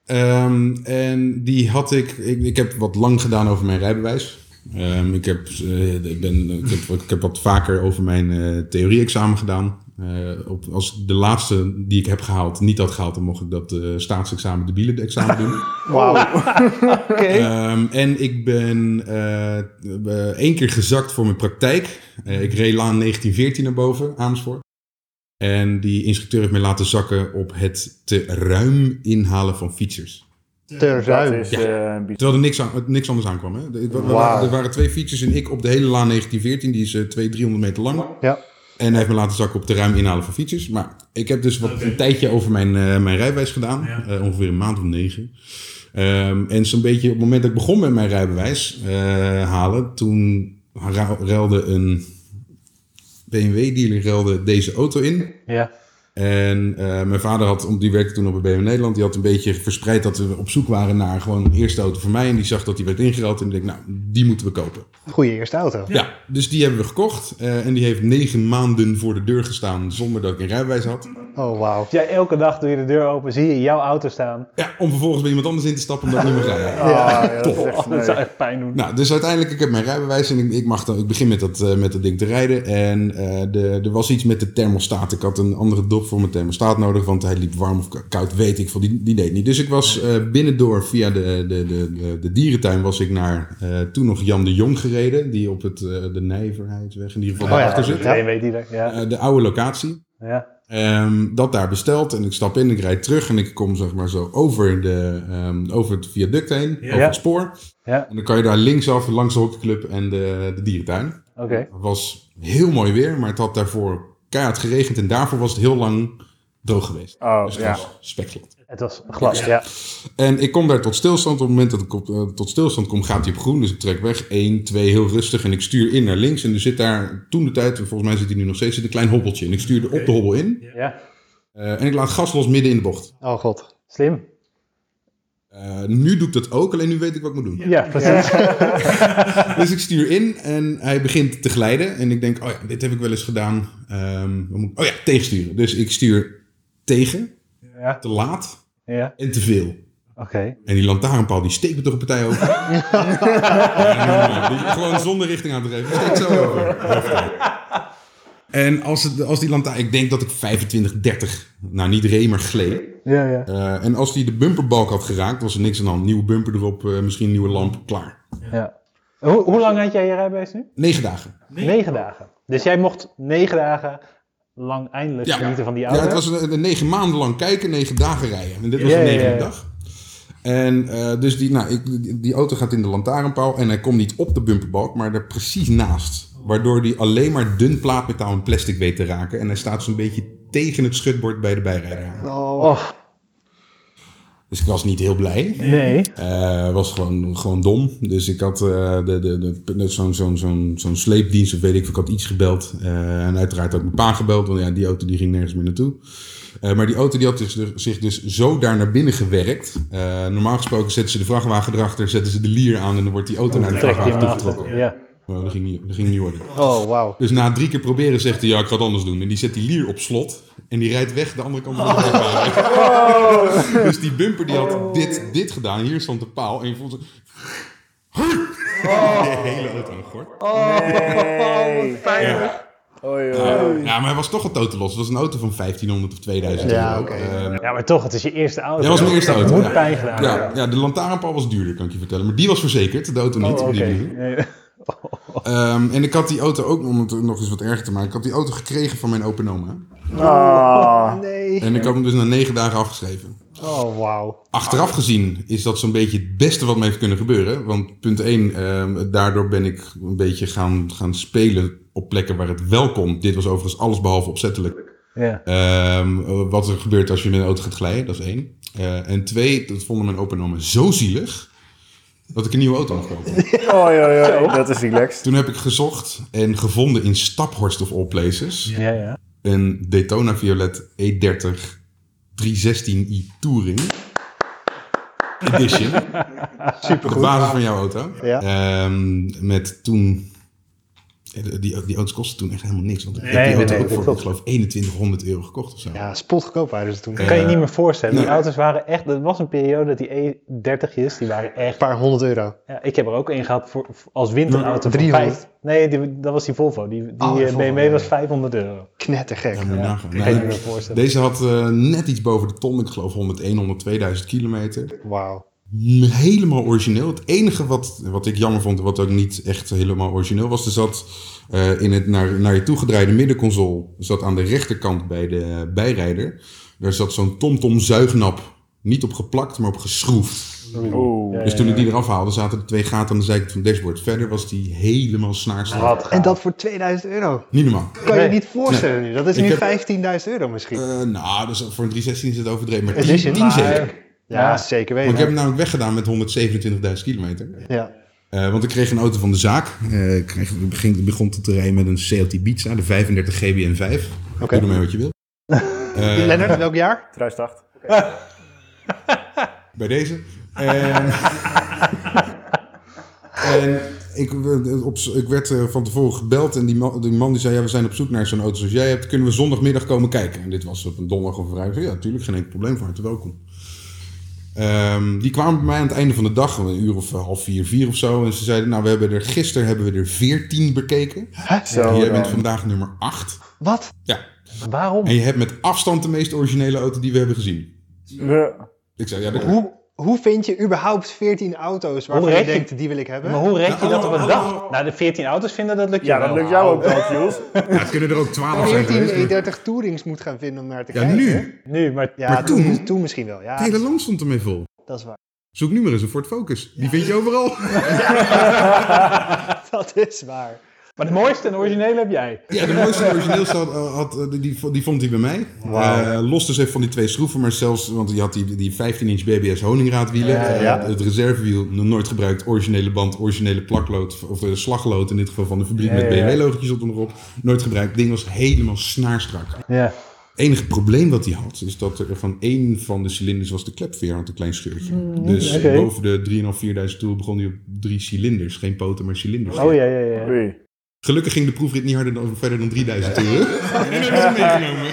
Speaker 4: Ehm, en die had ik, ik... Ik heb wat lang gedaan over mijn rijbewijs. Ehm, ik, heb, eh, ik, ben, ik, heb, ik heb wat vaker over mijn eh, theorie-examen gedaan. Eh, op, als ik de laatste die ik heb gehaald niet had gehaald... dan mocht ik dat eh staatsexamen, de bielen-examen doen.
Speaker 5: Wauw.
Speaker 4: Ehm, en ik ben eh, eh, één keer gezakt voor mijn praktijk. Eh, ik reed laan 1914 naar boven, Amersfoort. En die instructeur heeft mij laten zakken op het te ruim inhalen van fietsers.
Speaker 5: Te
Speaker 2: Dat
Speaker 5: ruim.
Speaker 2: is eh, een bijzonder.
Speaker 4: Terwijl er niks, aan, er niks anders aankwam. Hè? Er, er waren,
Speaker 5: Wauw.
Speaker 4: er waren twee fietsers en ik op de hele laan 1914. Die is eh, 200, 300 meter lang.
Speaker 5: Ja.
Speaker 4: En hij heeft me laten zakken op te ruim inhalen van fietsers. Maar ik heb dus wat een tijdje over mijn, eh, mijn rijbewijs gedaan. Eh, ongeveer een maand of negen. Ehm, en zo'n beetje op het moment dat ik begon met mijn rijbewijs eh, halen, toen ra- ruilde een BMW-dealer ruilde deze auto in.
Speaker 3: ja.
Speaker 4: En eh, mijn vader had, om- die werkte toen op bij BMW Nederland, die had een beetje verspreid dat we op zoek waren naar gewoon een eerste auto voor mij. En die zag dat die werd ingeruild en die dacht, nou, die moeten we kopen.
Speaker 5: Goede eerste auto.
Speaker 4: Ja, dus die hebben we gekocht. eh, en die heeft negen maanden voor de deur gestaan zonder dat ik een rijbewijs had.
Speaker 5: Oh, wauw.
Speaker 3: Jij elke dag doe je de deur open, zie je jouw auto staan.
Speaker 4: Ja, om vervolgens bij iemand anders in te stappen omdat ik niet meer rijden.
Speaker 2: Ja, ja, dat is echt
Speaker 3: Oh, dat zou
Speaker 2: sneu.
Speaker 3: echt pijn doen.
Speaker 4: Nou, dus uiteindelijk, ik heb mijn rijbewijs en ik, ik, mag dan, ik begin met dat, eh, met dat ding te rijden. En eh, de, er was iets met de thermostaat. Ik had een andere dop voor mijn thermostaat nodig, want hij liep warm of k- koud, weet ik veel. Die, die deed niet. Dus ik was eh, binnendoor via de, de, de, de, de dierentuin was ik naar eh, toen nog Jan de Jong gereden. Die op het, eh, de Nijverheidsweg in ieder geval
Speaker 5: Oh ja,
Speaker 4: daarachter zit.
Speaker 5: ja.
Speaker 3: Twee weet die er. Ja.
Speaker 4: Eh, de oude locatie.
Speaker 3: ja.
Speaker 4: Ehm, dat daar besteld en ik stap in, ik rijd terug en ik kom zeg maar zo over, de, ehm, over het viaduct heen, over het spoor.
Speaker 3: Ja.
Speaker 4: En dan kan je daar linksaf langs de hockeyclub en de, de dierentuin.
Speaker 3: Oké.
Speaker 4: Het was heel mooi weer, maar het had daarvoor keihard geregend en daarvoor was het heel lang droog geweest.
Speaker 2: Oh,
Speaker 4: dus het
Speaker 2: ja.
Speaker 4: was spekglad.
Speaker 3: Het was glad. Ja.
Speaker 4: En ik kom daar tot stilstand. Op het moment dat ik op, eh, tot stilstand kom, gaat hij op groen. Dus ik trek weg. 1, 2, heel rustig. En ik stuur in naar links. En er zit daar toen de tijd, volgens mij zit hij nu nog steeds, zit een klein hobbeltje. En ik stuurde op de hobbel in.
Speaker 3: ja.
Speaker 4: Eh, en ik laat gas los midden in de bocht.
Speaker 5: Oh, god.
Speaker 3: Slim.
Speaker 4: Eh, nu doe ik dat ook, alleen nu weet ik wat ik moet doen.
Speaker 3: Ja, precies.
Speaker 4: Dus ik stuur in en hij begint te glijden. En ik denk, oh ja, dit heb ik wel eens gedaan. Ehm, wat moet ik- oh ja, tegensturen. Dus ik stuur tegen,
Speaker 3: Ja.
Speaker 4: te laat
Speaker 3: Ja.
Speaker 4: en te veel.
Speaker 3: Oké.
Speaker 4: En die lantaarnpaal, die steekt me toch een partij over. Ja, die- gewoon zonder richting aan te geven. Steekt zo over. En als, het, als die lantaarn... Ik denk dat ik 25, 30... Nou, niet reed, maar gleed.
Speaker 3: Ja, ja.
Speaker 4: Eh, en als hij de bumperbalk had geraakt, was er niks aan de hand. Nieuwe bumper erop, eh, misschien een nieuwe lamp, klaar.
Speaker 3: Ja. Hoe, hoe lang had jij je rijbewijs nu?
Speaker 4: Negen dagen.
Speaker 3: Negen dagen. Dus jij mocht negen dagen lang eindelijk
Speaker 4: Ja.
Speaker 3: genieten van die
Speaker 4: Ja,
Speaker 3: auto.
Speaker 4: het was een, een negen maanden lang kijken, negen dagen rijden. En dit was
Speaker 3: Ja,
Speaker 4: de
Speaker 3: ja,
Speaker 4: negende
Speaker 3: ja.
Speaker 4: dag. En eh, dus die, nou, ik, die auto gaat in de lantaarnpaal en hij komt niet op de bumperbalk, maar er precies naast. Waardoor die alleen maar dun plaatmetaal en plastic weet te raken. En hij staat zo'n beetje tegen het schutbord bij de bijrijder aan.
Speaker 3: Oh,
Speaker 4: Dus ik was niet heel blij.
Speaker 3: nee.
Speaker 4: Eh, was gewoon, gewoon dom. Dus ik had eh, de, de, de, net zo'n zo'n zo'n zo'n sleepdienst, of weet ik, of ik had iets gebeld. Eh, en uiteraard ook mijn pa gebeld, want ja, die auto die ging nergens meer naartoe. Eh, maar die auto die had dus, zich dus zo daar naar binnen gewerkt. Eh, normaal gesproken zetten ze de vrachtwagen erachter, zetten ze de lier aan en dan wordt die auto naar de
Speaker 3: Trek die hem
Speaker 4: vrachtwagen toegetrokken.
Speaker 3: achter. Ja.
Speaker 4: Maar dat ging niet, dat ging niet worden.
Speaker 5: Oh, wauw.
Speaker 4: Dus na drie keer proberen zegt hij, ja, ik ga het anders doen. En die zet die lier op slot en die rijdt weg de andere kant van de rijbaan. Dus die bumper die had dit, dit gedaan. Hier stond de paal en je voelt zo... De hele auto aan gort.
Speaker 2: Nee.
Speaker 4: Ja.
Speaker 2: Oei, oei.
Speaker 4: Ja, maar hij was toch een totaal los. Het was een auto van 1500 of 2000
Speaker 5: Ja,
Speaker 4: euro.
Speaker 5: oké.
Speaker 4: Ehm,
Speaker 3: ja, maar toch, het is je eerste auto.
Speaker 4: dat was mijn eerste auto.
Speaker 3: Moet
Speaker 4: ja.
Speaker 3: pijn gedaan.
Speaker 4: Ja, ja, de lantaarnpaal was duurder, kan ik je vertellen. Maar die was verzekerd, de auto niet.
Speaker 3: Oh,
Speaker 4: op
Speaker 3: oké.
Speaker 4: die manier.
Speaker 3: Nee.
Speaker 4: Ehm, en ik had die auto ook, om het nog eens wat erger te maken, ik had die auto gekregen van mijn open oma.
Speaker 2: Ah.
Speaker 5: Nee.
Speaker 4: En ik had hem dus na negen dagen afgeschreven.
Speaker 5: Oh, wauw.
Speaker 4: Achteraf gezien is dat zo'n beetje het beste wat me heeft kunnen gebeuren. Want punt 1, daardoor ben ik een beetje gaan, gaan spelen op plekken waar het wel komt. Dit was overigens alles behalve opzettelijk.
Speaker 3: Ja.
Speaker 4: Ehm, wat er gebeurt als je met een auto gaat glijden, dat is één. Eh, en twee, dat vonden mijn opa en oma zo zielig dat ik een nieuwe auto mocht kopen.
Speaker 2: Oei, oei, oei. Dat is relaxed.
Speaker 4: Toen heb ik gezocht en gevonden in Staphorst of all places
Speaker 3: Ja, ja.
Speaker 4: een E Daytona Violet E30 316i Touring Edition. Supergoed. De basis van jouw auto.
Speaker 5: Ja.
Speaker 4: Ehm, met toen... eh, Die, die auto's kostten toen echt helemaal niks. Want ik heb
Speaker 3: Nee,
Speaker 4: die
Speaker 3: nee,
Speaker 4: auto
Speaker 3: nee,
Speaker 4: ook
Speaker 3: dat
Speaker 4: voor,
Speaker 3: klopt.
Speaker 4: ik geloof, 2100 euro gekocht of zo.
Speaker 5: Ja, spotgoedkoop waren ze toen.
Speaker 4: Ja.
Speaker 5: Een
Speaker 3: kan je
Speaker 4: Eh,
Speaker 3: niet meer voorstellen. Die
Speaker 4: nee.
Speaker 3: auto's waren echt... Dat was een periode dat die E30's, die waren echt...
Speaker 5: paar honderd euro.
Speaker 3: Ja, ik heb er ook een gehad voor, voor- als winterauto voor
Speaker 5: 300.
Speaker 3: vijf- Nee, die, dat was die Volvo. Die, die
Speaker 5: Oh, die
Speaker 3: eh,
Speaker 5: Volvo,
Speaker 3: BMW
Speaker 5: ja,
Speaker 3: was
Speaker 5: ja.
Speaker 3: 500 euro.
Speaker 5: Knettergek.
Speaker 4: Ja, moet je nagaan.
Speaker 3: Kan je
Speaker 4: Nou,
Speaker 3: niet meer voorstellen.
Speaker 4: deze had eh, net iets boven de ton. Ik geloof 101, 102.000 kilometer.
Speaker 5: Wauw.
Speaker 4: helemaal origineel. Het enige wat, wat ik jammer vond, wat ook niet echt helemaal origineel was, er zat eh, in het naar, naar je toegedraaide middenconsole, zat aan de rechterkant bij de eh, bijrijder, daar zat zo'n TomTom zuignap. Niet op geplakt, maar op geschroefd.
Speaker 2: Oeh.
Speaker 4: Dus toen ik die eraf haalde, zaten er twee gaten aan de zijkant van het dashboard. Verder was die helemaal snaarslaaf.
Speaker 3: Wat
Speaker 5: En
Speaker 3: gaaf.
Speaker 5: dat voor 2000 euro.
Speaker 4: Niet normaal.
Speaker 5: Kan je
Speaker 3: Nee.
Speaker 5: niet voorstellen nu. Dat is
Speaker 4: Ik
Speaker 5: nu
Speaker 4: heb-
Speaker 5: 15.000 euro misschien.
Speaker 4: Eh, nou, dus voor een 316 is het overdreven. Maar 10,
Speaker 5: Edition.
Speaker 4: 10 zeker.
Speaker 3: Maar-
Speaker 5: ja,
Speaker 3: ja.
Speaker 5: zeker
Speaker 4: Want
Speaker 5: weten.
Speaker 4: ik heb hem namelijk weggedaan met 127.000 kilometer.
Speaker 5: Ja.
Speaker 4: Eh, want ik kreeg een auto van de zaak. Eh, ik kreeg, ik begin, begon te rijden met een Seat Ibiza, de 35 GBN 5.
Speaker 5: Oké.
Speaker 4: Doe ermee wat je wil. Eh,
Speaker 5: Lennart, welk jaar?
Speaker 2: 2008.
Speaker 4: bij deze. En, en ik, werd op, ik werd eh, van tevoren gebeld en die man, die man die zei... Ja, we zijn op zoek naar zo'n auto zoals jij hebt. Kunnen we zondagmiddag komen kijken? En dit was op een donderdag of een vrijdag. Ik zei, Ja, natuurlijk, geen enkel probleem. Van harte welkom. Ehm, die kwamen bij mij aan het einde van de dag, om een uur of eh, half vier, vier of zo. En ze zeiden, nou, we hebben er, gisteren hebben we er veertien bekeken.
Speaker 5: Oh,
Speaker 2: Zo
Speaker 4: jij bent
Speaker 2: dan.
Speaker 4: vandaag nummer 8.
Speaker 5: Wat?
Speaker 4: Ja.
Speaker 3: Waarom?
Speaker 4: En je hebt met afstand de meest originele auto die we hebben gezien.
Speaker 2: We-
Speaker 4: Ik zei, ja, dat
Speaker 5: Hoe, hoe vind je überhaupt 14 auto's waarvan
Speaker 3: Hoe
Speaker 5: je
Speaker 3: reken-
Speaker 5: denkt, die wil ik hebben?
Speaker 3: Maar hoe red je dat op een
Speaker 4: Oh.
Speaker 3: dag? Nou, de 14 auto's vinden dat lukt je
Speaker 2: Ja, dat
Speaker 3: wel.
Speaker 2: lukt jou ook wel, Jules.
Speaker 4: Ja, het kunnen er ook 12 zijn
Speaker 5: 14
Speaker 4: geweest. maar-
Speaker 5: E30 Tourings moet gaan vinden om naar te
Speaker 4: Ja,
Speaker 5: kijken.
Speaker 4: nu.
Speaker 3: Nu, maar
Speaker 5: Ja,
Speaker 4: Maar
Speaker 5: toen,
Speaker 4: toen-
Speaker 5: toen misschien wel. Ja,
Speaker 4: Het hele land stond ermee vol.
Speaker 5: dat is waar.
Speaker 4: Zoek nu maar eens een Ford Focus. Die vind je overal.
Speaker 5: Dat is waar.
Speaker 3: Maar de mooiste en originele heb jij.
Speaker 4: Ja, de mooiste en origineelste had, had, eh, die, die vond hij bij mij. Eh, los dus even van die twee schroeven, maar zelfs, want die had die, die 15-inch BBS honingraadwielen. Eh,
Speaker 5: ja.
Speaker 4: het reservewiel, nog nooit gebruikt, originele band, originele plaklood, of eh, slaglood in dit geval van de fabriek met
Speaker 3: ja, ja.
Speaker 4: BMW-logotjes op en erop. Nooit gebruikt, het ding was helemaal snaarstrak.
Speaker 3: Ja.
Speaker 4: enige probleem dat hij had, is dat er van één van de cilinders was de klepveer had een klein scheurtje. dus
Speaker 3: oké.
Speaker 4: boven de 3.500, 4.000 toer begon hij op drie cilinders. Geen poten, maar cilinders.
Speaker 3: Oh ja, ja, ja.
Speaker 2: Oei.
Speaker 4: Gelukkig ging de proefrit niet harder dan, verder dan 3.000 toeren. en hebben ze hem meegenomen.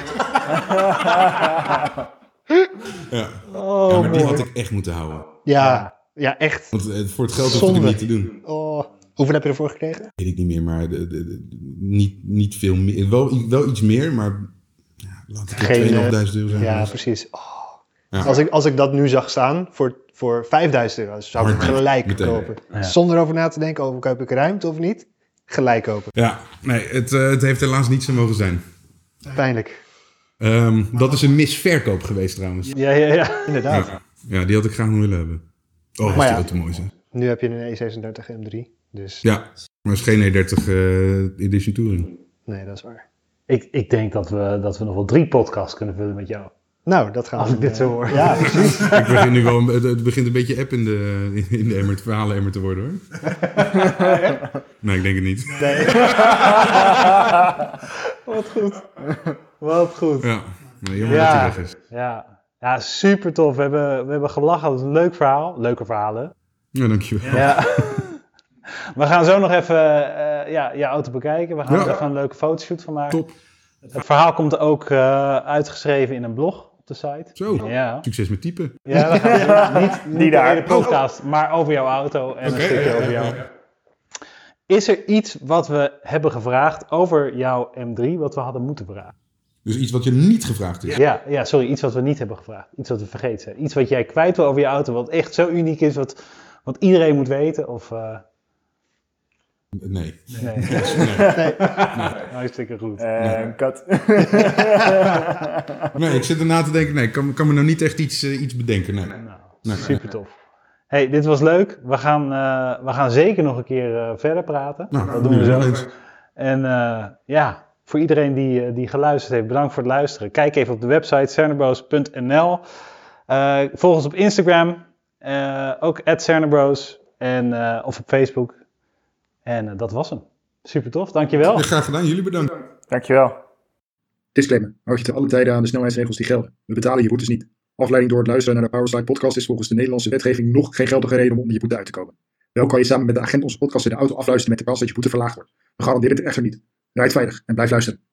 Speaker 4: ja.
Speaker 3: Oh,
Speaker 4: ja, maar die
Speaker 3: mooi.
Speaker 4: had ik echt moeten houden.
Speaker 5: Ja, ja echt.
Speaker 4: Want eh, voor het geld hoefde ik hem
Speaker 5: Zonde.
Speaker 4: niet te doen.
Speaker 5: Oh. Hoeveel heb je ervoor gekregen?
Speaker 4: Weet ik niet meer, maar de, de- de- niet, niet veel meer. Wel, wel iets meer, maar ja, laat ik
Speaker 5: Geen, eh,
Speaker 4: het 2.500 euro zijn.
Speaker 5: Ja,
Speaker 4: geweest.
Speaker 5: precies. Oh.
Speaker 4: Mhm. Ja.
Speaker 5: Als, ik, als ik dat nu zag staan voor, voor 5000 euro, zou ik
Speaker 4: Hard
Speaker 5: hem gelijk
Speaker 4: meteen.
Speaker 5: kopen.
Speaker 3: Ja.
Speaker 5: Zonder over na te denken, over koop ik ruimte of niet? Gelijk kopen.
Speaker 4: Ja, nee, het, eh, het heeft helaas niet zo mogen zijn.
Speaker 5: Pijnlijk.
Speaker 4: Ehm, dat is een misverkoop geweest trouwens.
Speaker 3: Ja, ja, ja.
Speaker 5: Inderdaad.
Speaker 4: Ja, die had ik graag nog willen hebben. Oh, als
Speaker 5: Maar
Speaker 4: die
Speaker 5: ja.
Speaker 4: auto mooi zijn.
Speaker 5: Nu heb je een E E36 M3. Dus
Speaker 4: Ja, maar het is geen E30 eh, Edition Touring.
Speaker 5: nee, dat is waar.
Speaker 3: Ik, ik denk dat we, dat we nog wel drie podcasts kunnen vullen met jou.
Speaker 5: Nou, dat gaan we
Speaker 3: Als ik
Speaker 5: doen,
Speaker 3: dit zo
Speaker 5: eh,
Speaker 3: hoor.
Speaker 5: Ja, precies.
Speaker 4: Ik begin nu wel, een- het, het begint een beetje app in de, in de emmer, verhalen emmer te worden hoor. Nee, ik denk het niet.
Speaker 3: Wat goed. Wat goed.
Speaker 4: Ja, nee, jammer
Speaker 3: Ja.
Speaker 4: dat hij weg is.
Speaker 3: Ja, ja super tof. We hebben, we hebben gelachen. Dat is een leuk verhaal. Leuke verhalen.
Speaker 4: Ja, dankjewel.
Speaker 3: Ja. We gaan zo nog even eh, ja, je auto bekijken. We gaan
Speaker 4: Ja.
Speaker 3: er even een leuke fotoshoot van maken.
Speaker 4: Top.
Speaker 3: Het verhaal komt ook eh, uitgeschreven in een blog op de site.
Speaker 4: Zo,
Speaker 3: Ja,
Speaker 4: succes met typen.
Speaker 3: ja dat gaat niet, niet
Speaker 2: Die daar.
Speaker 3: de hele podcast, maar over jouw auto en
Speaker 4: Oké,
Speaker 3: een stukje
Speaker 4: ja,
Speaker 3: over
Speaker 4: ja,
Speaker 3: jou. Is er iets wat we hebben gevraagd over jouw M3, wat we hadden moeten vragen?
Speaker 4: Dus iets wat je niet gevraagd is.
Speaker 3: Ja, ja, sorry, iets wat we niet hebben gevraagd. Iets wat we vergeten zijn. Iets wat jij kwijt wil over je auto, wat echt zo uniek is, wat, wat iedereen moet weten. Of, eh,
Speaker 4: Nee.
Speaker 3: nee,
Speaker 4: Nee.
Speaker 3: hartstikke goed.
Speaker 2: Eh, kat.
Speaker 4: nee, ik zit erna te denken, nee, ik kan, kan me nou niet echt iets, eh, iets bedenken. Nee.
Speaker 3: Nou,
Speaker 4: Nee.
Speaker 3: super tof. Hey, dit was leuk. We gaan, eh, we gaan zeker nog een keer eh, verder praten.
Speaker 4: Nou,
Speaker 3: dat doen we
Speaker 4: ja,
Speaker 3: zo.
Speaker 4: eens.
Speaker 3: En eh, ja, voor iedereen die, eh, die geluisterd heeft, bedankt voor het luisteren. Kijk even op de website cernebros.nl. Eh volg ons op Instagram, eh, ook @cernebros en, eh, of op Facebook. En eh, dat was hem. Super tof, dankjewel.
Speaker 4: Ja, graag gedaan, jullie bedankt.
Speaker 2: Dankjewel.
Speaker 6: Disclaimer. Houd je te alle tijden aan de snelheidsregels die gelden. We betalen je boetes niet. Afleiding door het luisteren naar de Powerslide podcast is volgens de Nederlandse wetgeving nog geen geldige reden om onder je boete uit te komen. Wel kan je samen met de agent onze podcast in de auto afluisteren met de kans dat je boete verlaagd wordt. We garanderen het echter niet. Rijd veilig en blijf luisteren.